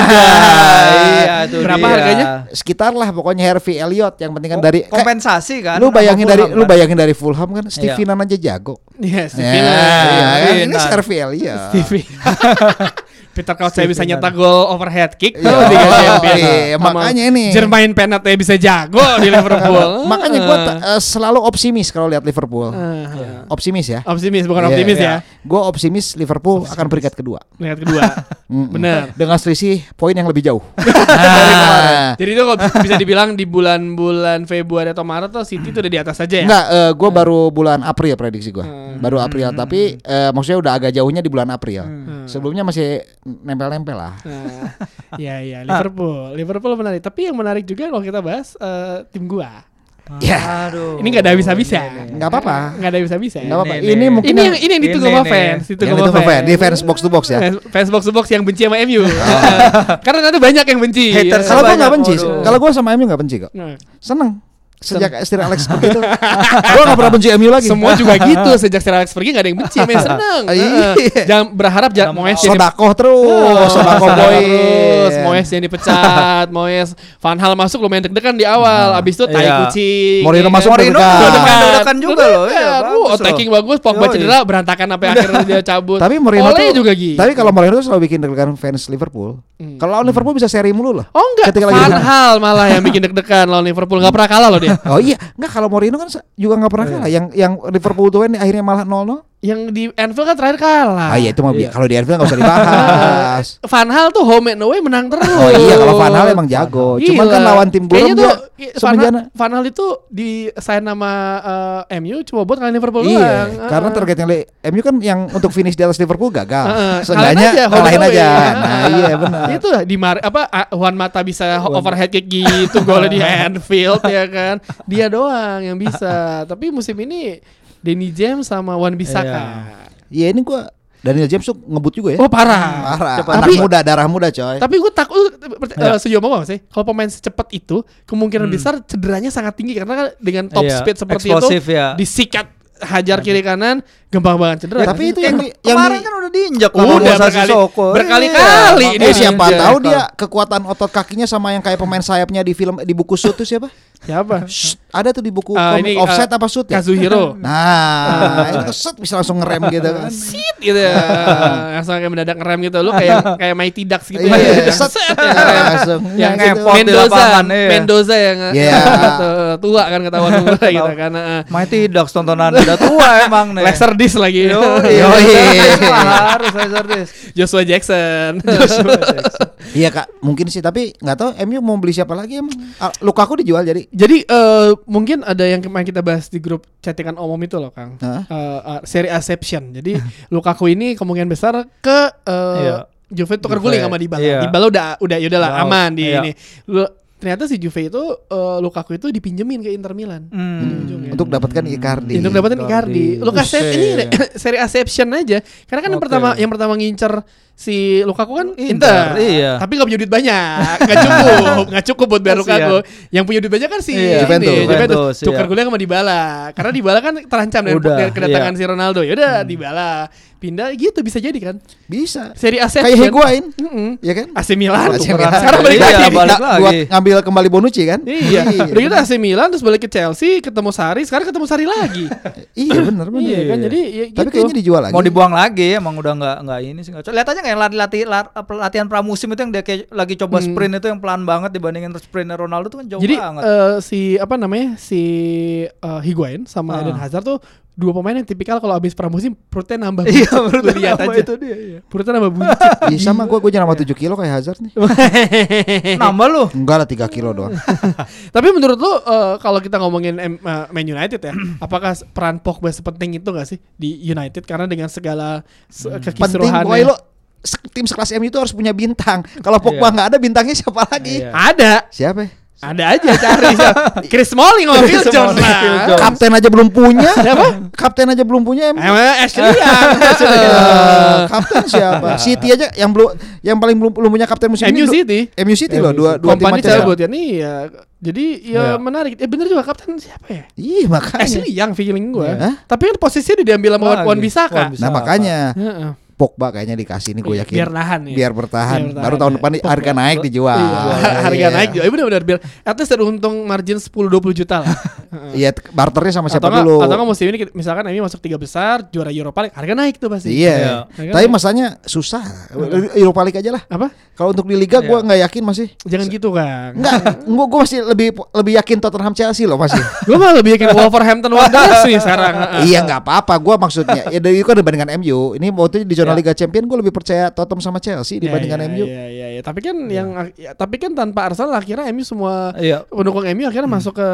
C: Iya, itu
A: Berapa
C: dia.
A: harganya? Oh,
B: Sekitar lah pokoknya Harvey Elliott yang penting kan
C: Kom-
B: dari kayak-
C: kompensasi kan.
B: lu bayangin
C: sama
B: dari
C: Fulham
B: lu
C: kan.
B: bayangin dari Fulham kan Stevenan aja jago.
A: Iya,
B: Ya,
A: Stevie
B: kan? Iya.
C: Stevenan.
B: ini si Harvey Elliott.
A: Stevie. Peter Crouch saya bisa
C: Stevie
A: nyetak gol overhead kick
B: Iya,
A: tuh di Liga
B: iya,
A: Champions.
B: iya,
A: Oh, Sama
B: makanya ini.
A: Jermain Pennant ya bisa jago di Liverpool.
B: Makanya gua ta- eh, selalu optimis kalau lihat Liverpool.
A: Ah.
B: Optimis ya.
A: optimis bukan
B: Iya,
A: optimis
B: iya.
A: ya.
B: Gua optimis Liverpool akan peringkat kedua.
A: Lihat kedua.
B: Mm-mm.
A: Bener.
B: Dengan selisih poin yang lebih jauh. Nah.
A: Jadi itu kalau bisa dibilang di bulan-bulan Februari atau Maret tuh City tuh udah di atas aja ya.
B: Enggak, eh, gua baru bulan April prediksi gua.
A: Hmm.
B: Baru April, tapi eh, maksudnya udah agak jauhnya di bulan April.
A: Hmm.
B: Sebelumnya masih nempel-nempel lah.
A: Nah, ya ya
B: Ah.
A: Liverpool. Liverpool menarik. Tapi yang menarik juga kalau kita bahas eh, tim gua.
B: Ya,
C: Ah, Aduh.
A: Ini nggak ada habis-habisnya.
B: iya, nggak apa-apa.
A: Nggak ada habis-habisnya.
B: Nggak apa-apa.
C: Ini,
B: Ini
C: nih.
B: mungkin
A: Ini yang ini yang ditunggu
C: Ini
A: sama
C: nih.
A: fans, ditunggu
B: Yang
A: sama
B: ditunggu fan,
A: fans.
B: di fans box to box ya. Oh.
A: Fans- Fans box to box yang benci sama MU. Karena nanti banyak yang benci.
C: Haters.
A: Ya.
B: Kalau gua nggak
C: Banyak,
B: benci,
C: waduh.
B: kalau gua sama MU nggak benci kok.
A: Nah,
B: Seneng. Sejak Sir Alex begitu, gua nggak pernah benci MU lagi.
A: Semua juga gitu sejak Sir Alex pergi gak ada yang benci, main seneng.
B: Iya.
A: Heeh. Jangan berharap jangan Moyes jadi Oh,
B: Sodakoh terus, sodakoh boy.
A: terus Moyes yang dipecat, Moyes Van Hal masuk lumayan deg-degan di awal, abis itu tai
C: Iya.
A: kucing. ya
B: Mourinho
A: kan?
B: masuk
C: Mourinho
B: deg-degan.
C: deg-degan.
A: Deg-degan.
C: Deg-degan juga loh, iya,
A: Deg-degan. Uh,
C: bagus loh.
A: attacking bagus, Pogba
C: Yoi.
A: cedera, berantakan sampai akhirnya dia cabut.
B: Tapi Mourinho
A: Oleh
B: tuh,
A: juga gitu. Hmm.
B: tapi kalau Mourinho tuh selalu bikin deg-degan fans Liverpool. Kalau lawan Liverpool bisa seri mulu loh.
A: Oh enggak,
B: Ketika lagi
A: Van
B: menang.
A: Hal malah yang bikin deg-degan lawan Liverpool nggak pernah kalah loh dia.
B: Oh iya, nggak kalau Mourinho kan se- juga nggak pernah
A: Hmm.
B: kalah. Yang yang Liverpool tuh kan akhirnya malah 0-0.
A: Yang di Anfield kan terakhir kalah.
B: Ah iya itu mau bi-
C: Iya.
B: kalau di Anfield nggak usah dibahas.
A: Van Hal tuh home and away menang terus.
B: oh iya kalau Van Hal emang jago. Cuman
A: Gila.
B: kan lawan
A: Iya.
B: tim
A: Kayaknya
B: burung dia
A: i- Van Hal-
B: semenjana.
A: Van Hal itu di sign nama eh, MU cuma buat ngalahin Liverpool
B: Iya,
A: doang. Heeh.
B: karena targetnya Le- MU kan yang untuk finish di atas Liverpool
A: Heeh,
B: gagal. Seenggaknya
A: kalahin home
B: kalahin
A: and
B: aja.
A: away.
B: Nah,
A: Heeh.
B: iya benar.
A: Itu lah, di Mar apa A- Juan Mata bisa ho- overhead kick gitu golnya di Anfield ya kan. Dia doang yang bisa. Tapi musim ini Danny James sama Wan Bisaka.
B: Iya ini gua Daniel James tuh ngebut juga ya.
A: Oh parah.
B: Parah.
C: Cepat.
B: Anak
A: Tapi-
B: muda, darah muda coy.
A: Tapi gue takut uh,
B: Iya.
A: sejauh apa sih? Kalau pemain secepat itu kemungkinan
B: Hmm.
A: besar cederanya sangat tinggi karena kan dengan top
C: Iya,
A: speed seperti
C: eksplosif
A: itu
C: ya.
A: disikat hajar kiri kanan gampang banget cedera.
B: Ya, tapi itu yang
C: yang,
B: di- yang
C: kemarin
B: di-
C: kan udah diinjak
A: Udah
C: sama Musa
A: berkali-
C: Sissoko.
A: berkali-kali
C: Iya,
A: ini.
B: Eh
C: makanya.
B: siapa
A: Iya,
B: tahu dia kekuatan otot kakinya sama yang kayak pemain sayapnya di film di buku Sut tuh siapa?
A: siapa?
B: Shh, ada tuh di buku
A: Ah, ini,
B: komik offset
A: ah,
B: apa shoot ya?
A: Kazuhiro.
B: Nah, itu set bisa langsung ngerem gitu kan.
A: Sit gitu ya. Langsung kayak mendadak ngerem gitu. Lu kayak kayak Mighty Ducks gitu.
B: Iya,
A: Mighty Ducks.
B: set
A: Set,
B: ya,
A: ya.
B: langsung.
A: yang
B: Nah,
A: kayak
B: gitu.
C: effort. di
A: Mendoza,
C: lapangan, iya.
A: Mendoza yang
B: Iya.
A: tua kan ketahuan umurnya gitu kan. Heeh.
C: Main tidak tontonan udah tua emang nih.
A: Laser Diaz lagi.
C: harus Hazardis.
A: Joshua Jackson.
B: Iya kak, mungkin sih tapi nggak tahu MU mau beli siapa lagi emang. Ah, Lukaku dijual jadi.
A: Jadi eh, mungkin ada yang kemarin kita bahas di grup chattingan omom itu loh Kang.
B: Hah?
A: Eh, eh, seri Asception. Jadi Lukaku ini kemungkinan besar ke eh,
C: Iya.
A: Juve tukar
C: Juve.
A: guling sama Dybala.
C: Iya.
A: Dybala udah udah ya udahlah
C: Udah out.
A: aman di
C: Iya.
A: ini. Lu, ternyata si Juve itu eh, Lukaku itu dipinjemin ke Inter Milan.
B: Hmm. Untuk dapatkan Icardi.
A: Untuk dapetin Icardi.
C: Icardi.
A: Lucas Hernandez-
B: Buset.
A: ini seri Asception aja. Karena kan yang
C: Oke.
A: pertama yang pertama ngincer si Lukaku kan Inter.
C: Inter, iya.
A: Tapi nggak punya duit banyak. Nggak cukup, nggak cukup buat bayar
C: Kasian.
A: Lukaku. Yang punya duit banyak kan si
C: Iya.
A: ini,
B: Juventus.
C: Juventus,
A: Tukar
C: iya.
A: guling sama Dybala. Karena Dybala kan terancam dengan
C: Udah,
A: dengan kedatangan
C: iya.
A: si Ronaldo. Ya udah Dybala pindah gitu bisa jadi kan.
B: Bisa.
A: Seri Asception.
B: Kayak Higuain,
A: Mm-mm.
B: ya kan?
A: AC Milan.
B: AC Milan.
A: Sekarang balik
C: Iya,
A: lagi.
B: Nah,
C: balik lagi.
B: buat ngambil kembali Bonucci kan?
A: Iya. Udah gitu AC Milan terus balik ke Chelsea, ketemu Sari, sekarang ketemu Sari lagi.
B: Iya benar benar.
A: Iya kan jadi ya
B: Tapi
A: gitu.
B: kayaknya dijual lagi.
C: Mau dibuang lagi emang udah nggak nggak ini sih nggak cocok. Lihat aja kayak lati- lati- lar- apa, latihan pramusim itu yang dia kayak lagi
B: Hmm.
C: coba sprint itu yang pelan banget dibandingin sprintnya Ronaldo tuh kan jauh
A: Jadi
C: banget.
A: eh, si apa namanya si eh, Higuain sama
C: Ah.
A: Eden Hazard tuh dua pemain yang tipikal kalau abis pramusim perutnya nambah.
C: Iya,
A: buncit.
C: perutnya
A: Lu lihat
C: nambah
A: aja.
C: itu dia, iya.
A: Perutnya nambah buncit.
B: Iya sama gue gue nambah 7 kilo kayak Hazard nih. Eh.
C: Nambah lu.
B: Enggak lah 3 kilo doang.
A: Tapi menurut lu eh, kalau kita ngomongin M- eh, Man United ya, apakah s- peran Pogba sepenting itu gak sih di United karena dengan segala se-
B: Hmm. Penting gue
A: kekisruhannya
B: lo se- tim sekelas MU itu harus punya bintang. Kalau Pogba
C: Iya.
B: nggak ada bintangnya siapa lagi?
C: Iya.
A: ada
B: Siapa? ya?
A: ada aja cari Chris Smalling sama Phil
C: Chris
A: Jones Iya.
C: Smalling, Phil
A: lah.
C: Jones.
B: Kapten aja belum punya. Siapa? Kapten aja belum punya MU.
A: Emang Ashley Young.
B: Eh, kapten siapa? City aja yang belum yang paling belum belum punya kapten musim
A: MU
B: ini. du-
A: City.
B: MU City Iya loh dua dua tim
A: Kompani
B: aja.
A: cabut ya nih ya. Jadi ya
C: Iya.
A: menarik. Eh bener juga kapten siapa ya?
B: Ih makanya.
A: Ashley yang feeling gue.
B: Iya. Hah?
A: Tapi kan posisinya dia diambil sama
C: Lagi.
A: iya. Wan Bisaka.
C: Wan Bisaka.
B: Nah makanya
A: Heeh.
B: Pogba kayaknya dikasih nih gue
A: Iya,
B: yakin.
A: biar nahan ya.
B: Biar
A: Biar
B: bertahan.
A: bertahan,
B: Baru tahun
A: ya.
B: depan nih harga naik dijual.
A: Iya, harga
B: Iya.
A: naik juga. Eh, bener-bener biar at least ada untung margin 10 20 juta lah.
B: Iya t- barternya sama siapa
A: atau nggak-
B: dulu?
A: Atau nggak musim ini kita- misalkan Emi masuk tiga besar, juara Europa League, harga naik tuh pasti.
C: Iya.
B: Iya.
A: Harga
B: Tapi
A: naik.
B: masanya susah.
A: Iya.
B: Europa League aja lah.
A: apa?
B: Kalau untuk di liga gue
C: Iya.
B: nggak yakin masih.
A: Jangan gitu, Kang.
B: Enggak, gue gue masih lebih lebih yakin Tottenham Chelsea loh masih.
A: Gue malah lebih yakin Wolverhampton Wanderers nih sekarang. Heeh.
B: iya nggak apa-apa gue maksudnya ya dari itu kan dibandingkan MU ini waktu di zona
C: Ya.
B: Liga Champion gue lebih percaya Tottenham sama Chelsea dibandingkan Iya.
A: ya,
B: MU
A: Iya, iya, iya. Tapi kan yang ya, tapi kan tanpa Arsenal akhirnya MU semua
C: Iya.
A: pendukung MU
B: Hmm.
A: akhirnya masuk ke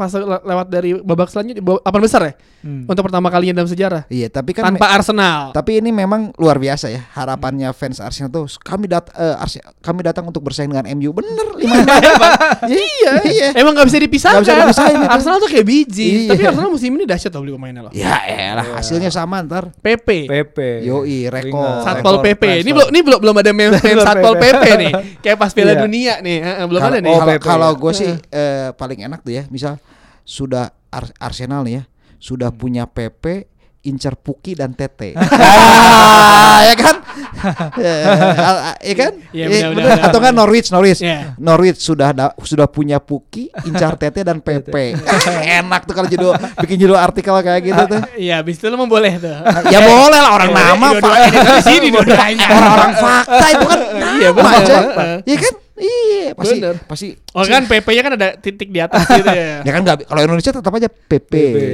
A: fase le- lewat dari babak selanjutnya apa besar ya? Untuk pertama kalinya dalam sejarah.
B: iya tapi Hmm. kan
A: tanpa
B: me-
A: Arsenal.
B: tapi ini memang luar biasa ya harapannya fans Arsenal tuh kami dat eh, Arse- kami datang untuk bersaing dengan MU bener lima iya iya
A: Emang nggak bisa dipisahkan.
B: Nggak bisa dipisahin, itu.
A: Arsenal tuh kayak biji.
B: Iya.
A: Tapi Arsenal musim ini dahsyat loh beli pemainnya loh.
B: ya elah hasilnya sama ntar
A: PP.
C: PP.
B: Yoi, rekor.
C: Ingat.
A: Satpol PP.
C: Rekor
A: Ini
C: transfer.
A: belum ini belum belum ada meme meme
C: Belum
A: Satpol
C: PP.
A: PP nih. Kayak pas Piala
C: Iya.
A: Dunia nih. Eh, eh, belum ada
B: Kalau-
A: nih.
B: kalau-
C: Oh, PP,
B: kalau
C: ya.
B: gue sih eh, paling enak tuh ya misal sudah Ar- Arsenal nih ya sudah
A: Hmm.
B: punya PP incer Puki dan Tete Ah, ya kan Eh, ah, ah, ya kan
A: Iya,
B: Eh,
A: benar, benar,
B: bener.
A: benar,
B: atau kan
A: benar.
B: Norwich Norwich
A: Iya.
B: Norwich sudah ada, sudah punya Puki incar Tete dan PP Ah, enak tuh kalau judul bikin judul artikel kayak gitu tuh
A: Iya, abis itu lo mau boleh tuh.
B: ya boleh lah orang
A: Iya,
B: nama
A: iya,
B: Pak.
A: dua-duanya di sini dua-duanya.
B: orang-orang fakta itu kan
A: Iya,
B: nama
A: benar,
B: aja.
A: fakta.
B: Iya kan iya pasti
A: Bener.
B: pasti
A: Oh kan PP-nya kan ada titik di atas gitu ya.
B: Ya kan nggak bi- kalau Indonesia tetap aja PP.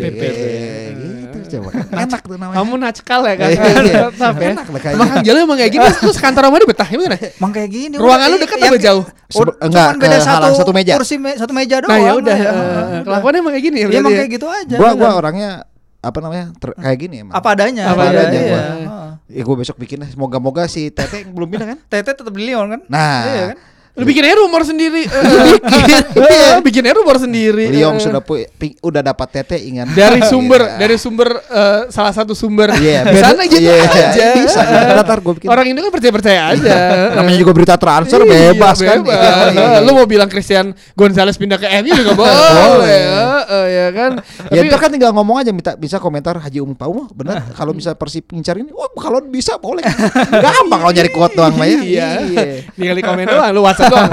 C: PP.
B: Gitu coba. Enak tuh namanya.
A: Kamu nacekal ya kan?
B: Iya, iya.
A: Tetap ya.
B: Enak lah kayaknya.
A: Emang Kang Jalo emang kayak gini terus kantor rumah dia betah ya gimana?
C: Emang kayak gini.
A: Ruangan
C: udah,
A: lu dekat
C: yang-
A: apa jauh?
B: Sebe-
C: Cuman
B: enggak,
C: beda
B: eh, halang satu meja.
C: Kursi me- satu meja doang.
A: Nah ya udah,
C: Iya,
A: eh, kelakuannya emang kayak gini ya.
C: Iya, emang
A: berarti ya?
C: kayak gitu aja.
B: Gua gua
C: bener.
B: orangnya apa namanya? ter- kayak gini emang.
C: apa adanya.
A: Apa
C: iya,
B: adanya
C: iya.
B: gua.
C: Heeh.
B: Ya gua besok bikin lah. Moga-moga si Tete yang
A: Iya
B: belum pindah kan.
C: Tete tetap di Lyon kan?
B: Nah.
C: Iya kan?
A: Lu bikin aja rumor sendiri. Eh,
B: Iya.
A: eh, bikin aja rumor sendiri.
B: Liong
A: Eh,
B: sudah pu- pi- udah dapat Tete ingat.
A: dari
B: Gitu.
A: sumber dari sumber eh, salah satu sumber
B: Iya,
A: di sana gitu
B: iya,
A: aja. Eh,
B: Bisa. Ntar ntar gua bikin.
A: Orang Indo kan percaya percaya aja.
B: namanya juga berita transfer
A: Iya,
B: bebas kan. Iya,
A: bebas.
B: iya,
A: Eh,
B: iya.
A: Lu mau bilang Christian Gonzalez pindah ke MU juga boleh.
B: Boleh.
A: eh, eh, ya kan.
B: Ya
A: Tapi- Nah,
B: ntar kan tinggal ngomong aja minta bisa komentar Haji Umum Paumo bener
A: iya.
B: kalau bisa Persib ngincar ini oh kalau bisa boleh gampang kalau nyari kuat doang mah ya
A: Iya. Tinggal di komen doang, lu WhatsApp doang.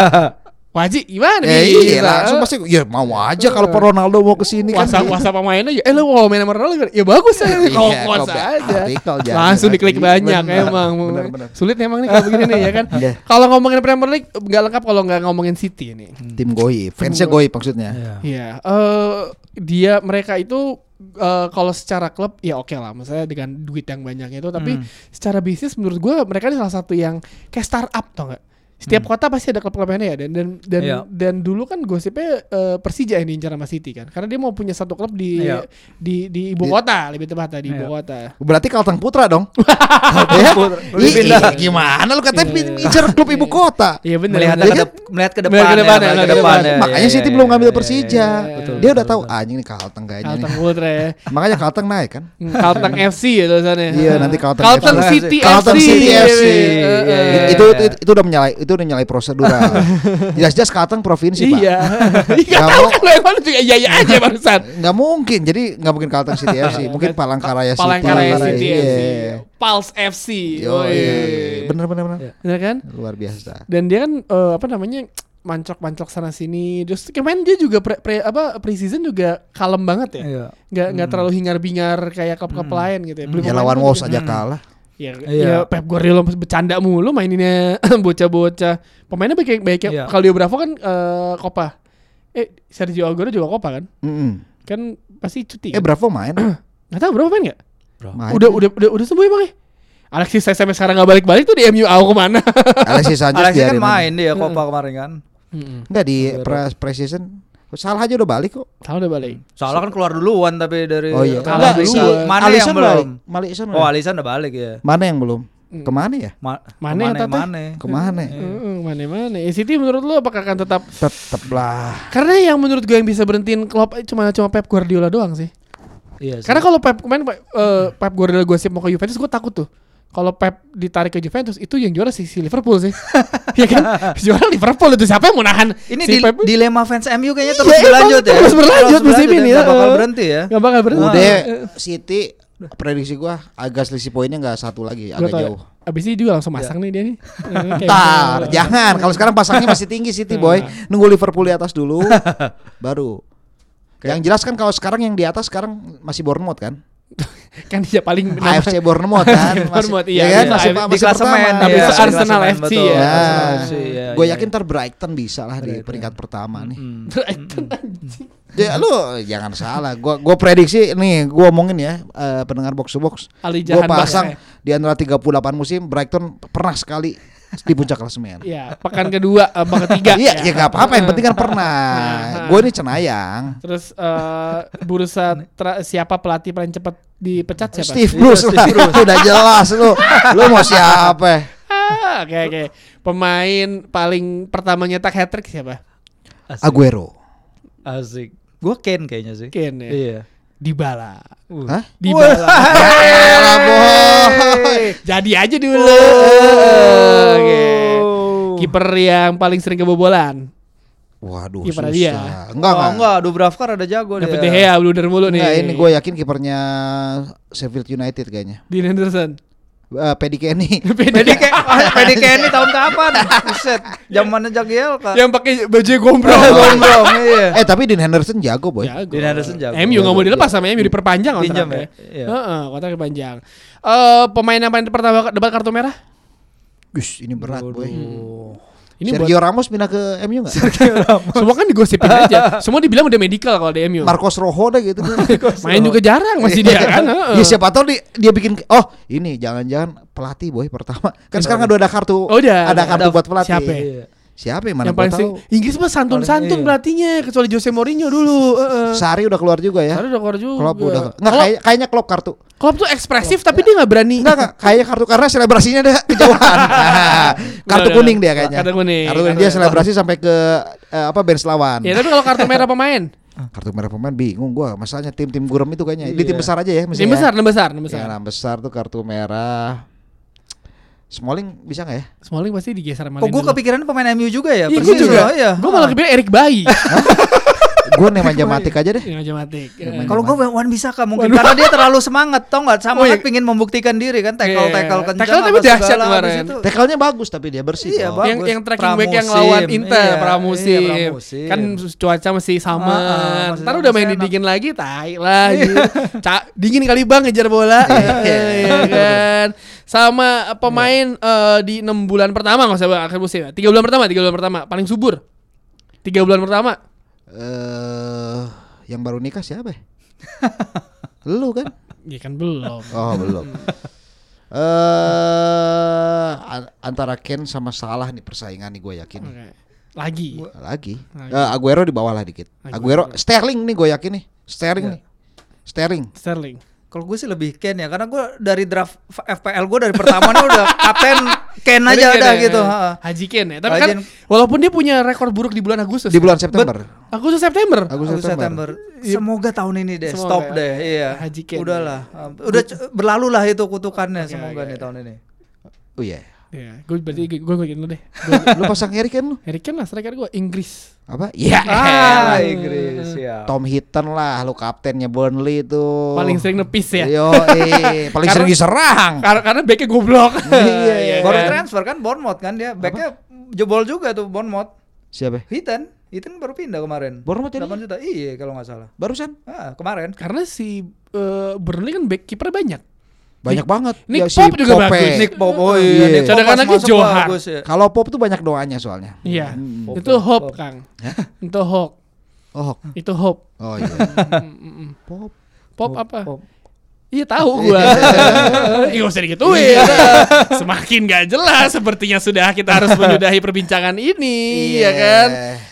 A: Wajib gimana
B: Eh,
A: bisa?
B: iya langsung pasti ya mau aja kalau Pak Ronaldo mau kesini kan.
A: WhatsApp WhatsApp pemainnya ya, eh lu mau main sama Ronaldo ya bagus aja
B: Iya,
A: kalau
B: kalau
A: kuasa
B: back
A: aja.
B: artikel jangan
A: Langsung
B: lagi.
A: diklik banyak
B: Benar,
A: emang.
B: benar, benar.
A: Sulit emang nih kalau begini nih ya kan.
B: Iya.
A: Kalau ngomongin Premier League nggak lengkap kalau nggak ngomongin City nih.
B: Tim goib, fansnya goib maksudnya.
C: Iya.
A: Iya, eh, dia mereka itu eh, kalau secara klub ya oke lah, misalnya dengan duit yang banyak itu,
C: Hmm.
A: tapi secara bisnis menurut gua mereka ini salah satu yang kayak startup tau nggak? Setiap kota pasti ada klub-klubnya ya dan dan dan,
C: Hmm. Iya.
A: dan dulu kan gosipnya eh, Persija yang diincar sama City kan, karena dia mau punya satu klub di
C: Iya.
A: di di ibu kota lebih tepatnya di ibu
C: Iya.
A: kota.
B: Berarti Kalteng Putra dong. Ya?
C: Putra.
B: Ih,
C: Udah pindah.
B: ih, Gimana lu katanya
A: Iya.
B: incer klub ibu kota. Iya,
A: Iya benar.
C: Melihat
A: benar.
C: ke dep- melihat ke depan,
A: Melihat ke depan, melihat
C: ya, melihat
A: ke
C: ke depan.
A: depan.
C: ya,
B: Makanya
C: ya,
B: Siti
C: ya,
B: belum
C: ya,
B: ngambil
C: ya,
B: Persija.
C: ya, ya.
A: iya. Betul,
B: Dia udah tahu anjing nih Kalteng kayaknya.
A: Kalteng
B: nih.
A: Putra ya.
B: Makanya Kalteng naik kan.
A: Kalteng FC ya tulisannya.
B: Iya, nanti Kalteng
A: Kalteng
C: FC.
A: City FC.
B: Kalteng City FC.
A: Eh, eh,
C: Iya, iya,
A: eh.
B: Itu, itu itu udah menyalahi itu udah menyalahi prosedural. Jelas-jelas Kalteng provinsi, Pak.
A: Iya. Iya
B: Nggak
A: tahu
B: mau.
A: kan lo yang mana juga iya iya aja barusan.
B: Nggak mungkin. Jadi nggak mungkin Kalteng City
C: Iya.
B: FC, mungkin Palangkaraya City.
A: Palangkaraya City
B: Iya.
A: FC. Pals FC.
B: Yo,
A: Woi.
B: iya. Bener bener bener.
C: Iya.
A: Bener kan?
B: Luar biasa.
A: Dan dia kan eh, apa namanya? mancok-mancok sana sini. Terus kemarin dia juga pre, pre- apa preseason juga kalem banget ya.
C: Iya.
A: Nggak nggak terlalu hingar-bingar kayak klub-klub lain gitu ya. Beli
B: Hmm. Ya
A: pemain
B: lawan
A: tuh
B: Wolves
A: juga-
B: aja kalah.
A: Ya,
C: Hmm. Iya.
A: ya Pep Guardiola bercanda mulu maininnya bocah-bocah. Pemainnya baik baik
C: Iya.
A: kalau dia Bravo kan eh, Copa. Eh Sergio Aguero juga Copa kan?
B: Mm-mm.
A: Kan pasti cuti.
B: Eh
A: Kan?
B: Bravo main.
A: Nggak tahu berapa main nggak?
C: Nah,
B: main.
A: Udah, udah, udah, udah sembuh emang ya? Alexis saya sampai sekarang nggak balik-balik tuh di MU AU kemana?
B: Alexis Sanchez
C: Alexis kan
B: biarin aja.
C: main dia Copa kemarin kan.
B: Enggak di pre preseason. Salah aja udah balik kok.
A: Tahu udah balik.
C: Salah kan keluar duluan tapi dari
B: Oh iya.
A: Kalah
C: Enggak,
A: dulu.
C: si Mane yang
B: Alisson
C: belum.
B: balik. Malisson
C: Oh,
B: balik.
C: Alisson udah balik ya.
B: Mana yang belum? Kemana ya?
C: Ma
A: Mane
C: Mane,
A: atau teh?
C: Mane.
B: Kemana?
C: Eh. Hmm.
B: ya?
A: Mana mana. Ya, City menurut lu apakah akan tetap?
B: Tetep lah.
A: Karena yang menurut gue yang bisa berhentiin Klopp eh, cuma cuma Pep Guardiola doang sih.
C: Iya. sih.
A: Karena kalau Pep kemarin eh, Pep Guardiola gue sih mau ke Juventus gue takut tuh. Kalau Pep ditarik ke Juventus itu yang juara sih si Liverpool sih. Iya kan? Juara Liverpool itu siapa yang mau nahan?
C: ini
A: si
C: di- dilema fans MU kayaknya terus
A: Iya, emang
C: berlanjut ya.
A: terus berlanjut musim
C: berlanjut
A: ini,
C: ya, nggak bakal
A: heeh.
C: berhenti ya.
A: Gak bakal berhenti. Eh,
B: Udah City prediksi gua agak selisih poinnya nggak satu lagi
A: Gua
B: agak
A: tau.
B: jauh. Iya.
A: Abis ini juga langsung masang nih dia nih. Eh, kayak
B: Ntar,
A: gitu.
B: jangan. Kalau sekarang pasangnya masih tinggi City boy. Nunggu Liverpool di atas dulu, baru. Yang jelas kan kalau sekarang yang di atas sekarang masih Bournemouth kan,
A: kan dia paling
B: AFC Bournemouth kan, masih,
A: Bournemouth, iya,
B: ya kan
A: iya.
B: masih,
C: Di- di
B: masih
C: klasemen,
B: pertama.
A: Habis
C: iya,
A: itu
C: di
A: Arsenal
C: klasemen,
A: FC
C: betul.
A: ya.
B: Ya,
C: Arsenal FC, iya,
B: gue
C: iya,
B: yakin
C: iya.
B: ntar Brighton iya. bisa lah di peringkat pertama nih.
A: Brighton anjing.
B: Ya lu jangan salah. Gua gua prediksi nih, gua omongin ya eh, pendengar box to box.
A: Ali
B: Gua
A: Jahan
B: pasang
A: banget
B: di antara 38 musim Brighton pernah sekali di puncak klasemen.
A: Ya, pekan kedua apa ketiga.
B: Iya, ya nggak apa-apa. Yang penting kan pernah.
A: Nah.
B: Gue ini cenayang.
A: Terus eh, bursa tra- siapa pelatih paling cepat dipecat siapa?
B: Steve Bruce lah. Udah jelas lu. Lu mau siapa?
A: Ah, Oke oke. Pemain paling pertama nyetak hat trick siapa?
C: Asik.
B: Aguero.
C: Asik. Gue Ken kayaknya sih.
A: Kane ya.
C: Iya.
A: Dybala.
C: Uh.
B: Hah?
A: Dybala.
B: Ya elah, boy.
A: Jadi aja dulu. Oke. Kiper yang paling sering kebobolan.
B: Waduh,
A: Iya, pada
B: susah.
A: dia.
B: Enggak,
C: oh,
B: enggak.
C: enggak, Dubravka ada jago
A: Dapat De
C: dia.
A: Gea blunder mulu nih.
B: Oh, iya. Enggak, ini gue yakin kipernya Sheffield United kayaknya.
A: Dean Henderson.
B: Eh, Paddy Kenny.
C: Pedi Ken, Pedi Ken ini tahun kapan? Buset, zamannya Jagiel kan.
A: yang pakai baju gombrong.
C: belum, iya.
B: eh, tapi Dean Henderson Oh, jago, Iya. boy.
A: Jago.
C: Dean Henderson jago.
A: MU nggak mau dilepas sama MU diperpanjang
C: Pinjam
A: kontraknya.
C: ya? Iya.
A: Heeh, kontrak diperpanjang. Eh pemain yang paling pertama debat kartu merah?
B: Gus, ini berat, boy.
A: Ini
B: Oh. Sergio Ramos pindah ke MU enggak?
A: buat semua kan digosipin aja. Semua dibilang udah medical kalau di MU.
B: Marcos Rojo deh gitu.
A: Main juga jarang masih dia kan. heeh.
B: Ya siapa tahu dia, dia bikin oh ini jangan-jangan pelatih boy pertama. Kan sekarang udah ada kartu.
A: Oh, udah.
B: ada kartu
A: Ada
B: buat pelatih.
A: siapa ya?
C: Iya.
B: Siapa yang
A: Yang
B: mana gua
A: paling sering
B: tahu.
A: Inggris mah santun-santun
C: Paling- iya.
A: pelatihnya kecuali Jose Mourinho dulu. Heeh.
B: Sari udah keluar juga ya.
A: Karena udah keluar Eh. juga.
B: Klopp udah. Enggak
A: Klopp-
B: kayak, ya. kayaknya Klopp kartu.
A: Klopp tuh ekspresif tapi dia nggak berani.
B: Enggak enggak, kayaknya kartu karena selebrasinya dia kejauhan. Nah, kartu
A: Udah, udah,
B: kuning
A: udah.
B: dia kayaknya.
A: Kartu kuning.
B: Kartu
A: Kartu
B: dia
A: merah.
B: selebrasi sampai ke eh, apa bench lawan. Ah,
A: Ya tapi kalau kartu merah pemain,
B: Kartu merah pemain bingung gua. Masalahnya tim-tim gurem itu kayaknya di tim
C: Iya.
B: besar aja ya
A: ini
B: mestinya.
A: besar, enam besar, enam
B: Ya,
A: besar.
B: enam besar tuh kartu merah. Smalling bisa nggak ya?
A: Smalling pasti digeser sama
C: Kok gue
A: Lindelof.
C: kepikiran pemain MU juga ya?
A: Iya, gue
C: Persis,
A: juga.
C: oh, Iya.
A: Gue malah kepikiran Erik Bayi.
B: Gue nih manja matik aja deh.
A: Yang Iya. aja matik.
B: Yang aja
C: Kalau gue Wan bisa kah mungkin karena dia terlalu semangat tau nggak
A: Oh,
C: sama
A: iya.
C: kan pingin membuktikan diri kan tackle tackle
A: Iya.
C: kencang
A: Tackle tapi
C: apa segala,
A: dahsyat
C: habis
A: kemarin.
C: itu-
B: Tekelnya bagus tapi dia bersih.
C: Iya,
B: Bang.
C: Bang.
A: yang
C: bagus.
A: yang tracking back yang
C: Pramusim,
A: lawan Inter
C: iya,
A: pramusim.
C: iya, pramusim.
A: kan cuaca masih sama
C: Ah, ah, masih
A: ntar
C: sama,
A: udah
C: masih
A: main
C: enak. Iya.
A: didingin lagi tai lah gitu. Ca- dingin kali bang ngejar bola Iya kan sama eh, pemain eh, di enam bulan pertama nggak usah Bang, akhir musim tiga bulan pertama tiga bulan pertama paling subur tiga bulan pertama
B: Eh, yang baru nikah siapa? ya? Lu kan?
C: Iya,
A: ya kan belum
B: Oh belum. Eh an- antara Ken sama Salah nih persaingan nih gue yakin.
A: Oke. lagi
B: Lagi.
A: Lagi.
B: Eh, Aguero di bawah lah dikit. Aguero, Sterling nih gue yakin nih. Sterling nih. Sterling.
A: Sterling
C: Kalau gue sih lebih Ken ya, karena gue dari draft F- FPL gue dari pertama nih udah kapten Ken
A: Jadi
C: aja
A: Ken
C: udah
A: ya,
C: gitu.
A: ya.
C: ha.
A: Haji Ken ya tapi
C: Haji
A: kan
C: Ken.
A: walaupun dia punya rekor buruk di bulan Agustus
B: Di bulan September.
A: Agustus September
B: Agustus
C: Agustus
B: September.
C: September. Semoga tahun ini deh
A: Semoga.
C: stop deh. Iya.
A: Haji Ken.
C: Udahlah. Um, Udah c- berlalu lah itu kutukannya semoga nih tahun ini.
B: Oh iya.
A: ya gue berarti gue gue ngikutin lu deh
B: Lu pasang Harry Kane lu?
A: Harry Kane lah striker gue Inggris
B: Apa? Iya.
C: Ah, Inggris ya.
B: Tom Hinton lah, lu kaptennya Burnley tuh.
A: paling sering nepis ya
B: Yo, eh,
A: Karena- Ah.
B: paling sering diserang.
A: karena karena backnya goblok
B: Iya, iya.
C: Baru transfer kan Bournemouth kan dia. Backnya jebol juga tuh Bournemouth.
B: Siapa?
C: Hitan. Hitan baru pindah kemarin.
B: Bournemouth ini?
C: 8 juta. Iya kalau nggak salah.
B: Barusan
C: Ah, kemarin.
A: karena si eh, Burnley kan back kiper banyak
B: banyak banget. Ya,
A: Nick Pope juga bagus.
C: Nick Pope. Oh
B: Iya.
C: iya. Nick Pope
A: Cadangan
C: pas
A: lagi
C: masuk
A: Johan.
C: bagus ya.
B: Kalau Pop tuh banyak doanya soalnya.
A: iya
B: Hmm.
A: itu
C: Hope,
A: hope
C: Hope.
A: kang itu hope
B: Oh,
A: itu hope
B: oh iya. Pop.
A: pop apa
C: Pope.
A: iya tahu gua iya usah digituin semakin gak jelas sepertinya sudah kita harus menyudahi perbincangan ini
B: Iya.
A: ya kan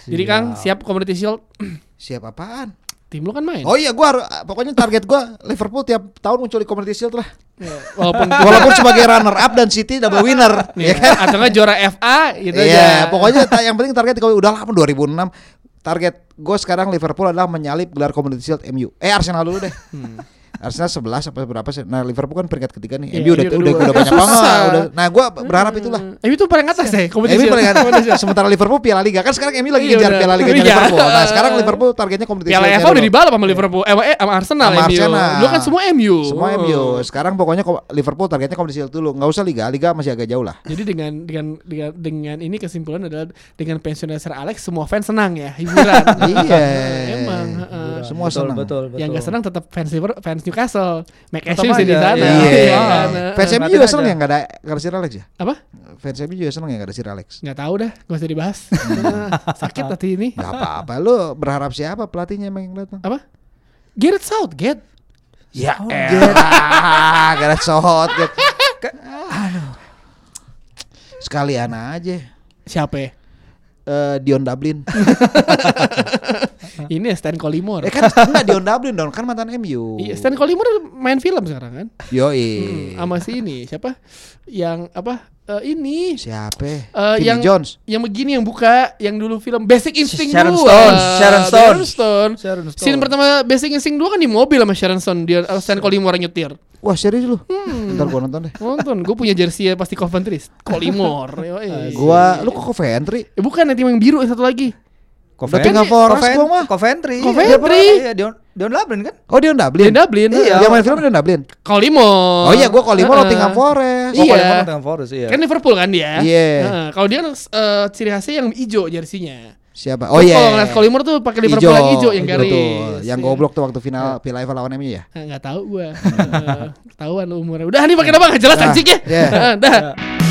A: jadi kang siap community shield
B: Siap apaan?
A: tim lu kan main
B: Oh iya, gua harus- pokoknya target gua Liverpool tiap tahun muncul di Community Shield lah.
A: Iya. walaupun
B: Walaupun sebagai runner up dan City double winner,
A: Iya,
B: ya kan?
A: atau nggak juara FA gitu aja.
B: Iya, pokoknya ta- yang penting target kalau udah lama 2006 target gue sekarang Liverpool adalah menyalip gelar Community Shield MU. Eh Arsenal dulu deh. Arsenal 11 apa berapa sih? Nah, Liverpool kan peringkat ketiga nih.
A: Hmm. Iya,
B: MU udah
A: MU
B: udah, udah,
A: kedua.
B: banyak banget.
A: Susah.
B: Udah. Nah, gue berharap itulah.
A: Eh itu paling atas ya kompetisi. ya?
B: MU paling sementara Liverpool Piala Liga kan sekarang MU lagi
A: Iya,
B: ngejar
A: udah.
B: Piala Liga
A: Iya.
B: Liverpool. Nah, sekarang Liverpool targetnya Community
A: Piala
B: Shield-nya
A: FA udah
B: dulu.
A: dibalap sama Liverpool, eh, eh sama Arsenal,
B: Sama
A: MU.
B: Arsenal.
A: Lu kan semua MU.
B: Semua MU. Sekarang pokoknya ko- Liverpool targetnya Community Shield dulu. Nggak usah Liga, Liga masih agak jauh lah.
A: Jadi dengan dengan dengan, dengan ini kesimpulan adalah dengan pensiunnya Sir Alex semua fans senang ya hiburan.
B: Iya.
A: Emang. heeh.
B: Semua
C: betul,
B: senang.
C: Betul, betul.
A: Yang gak senang tetap fans Liver- fans Newcastle.
C: Tetap
A: McAllister masih di
C: aja.
A: sana.
B: Iya.
A: Iya kan?
B: Fans
A: Heeh.
B: MU
C: Matiin
B: juga
C: aja.
B: seneng ya nggak ada nggak ada Sir Alex ya?
A: apa?
B: Fans MU juga seneng ya nggak ada Sir Alex.
A: Nggak tahu dah, gak usah dibahas.
B: Hmm.
A: Sakit hati ini.
B: Gak apa-apa. Lu berharap siapa pelatihnya emang yang datang?
A: Apa? Gareth Southgate.
B: Ya
A: eh.
B: elah. Gak Ah, ada sohot. Get. Ke- Aduh. Sekalian aja.
A: Siapa ya?
B: Eh, Dion Dublin.
A: Ini ya Stan Collymore.
B: eh kan enggak Dion Dublin dong kan mantan MU.
A: Iya, Stan Collymore main film sekarang kan?
B: Yoi.
A: Hmm, sama si ini siapa? Yang apa? Eh, ini
B: Siapa?
A: Eh,
B: Vinnie
A: yang-
B: Jones.
A: yang begini yang buka yang dulu film Basic Instinct 2.
C: Sharon Stone, Sharon Stone.
A: Sharon Stone.
C: Sharon Stone.
A: Scene pertama Basic Instinct 2 kan di mobil sama Sharon Stone dia eh, Stan Collymore yang nyetir.
B: Wah serius lu?
A: Hmm.
B: Ntar gua nonton deh.
A: Nonton, gue punya jersey ya pasti Coventry. Collymore. yoi.
B: Ah, Gua lu kok Coventry?
A: Eh, bukan nanti yang biru satu lagi.
B: Berarti nggak Forest gua mah.
C: Coventry.
A: Coventry.
C: Dia pernah- Iya, Dion Dion Labrin kan?
B: Oh Dion Dublin.
A: Yang Dublin. eh.
C: Iya.
B: Yang main film Dion Dublin.
A: Collymore.
B: Oh iya gua Colimore
A: Heeh.
B: Nottingham Forest.
A: Iya.
C: Oh, Colimore Nottingham Forest iya.
A: Kan Liverpool kan dia.
B: Iya.
A: Heeh, kalau dia kan eh, ciri khasnya yang hijau jersinya.
B: Siapa? Oh
A: Terus
B: iya.
A: Kalau ngeliat Collymore tuh pakai Liverpool yang hijau yang garis.
B: Betul. Yang
A: Iya.
B: goblok tuh waktu final Piala FA lawan MU ya.
A: Ah, nggak tahu gua. Eh, Ketahuan lu umurnya. Udah nih pakai apa nggak jelas
B: Dah,
A: anjing ya.
C: Nah.
B: iya.
A: Dah.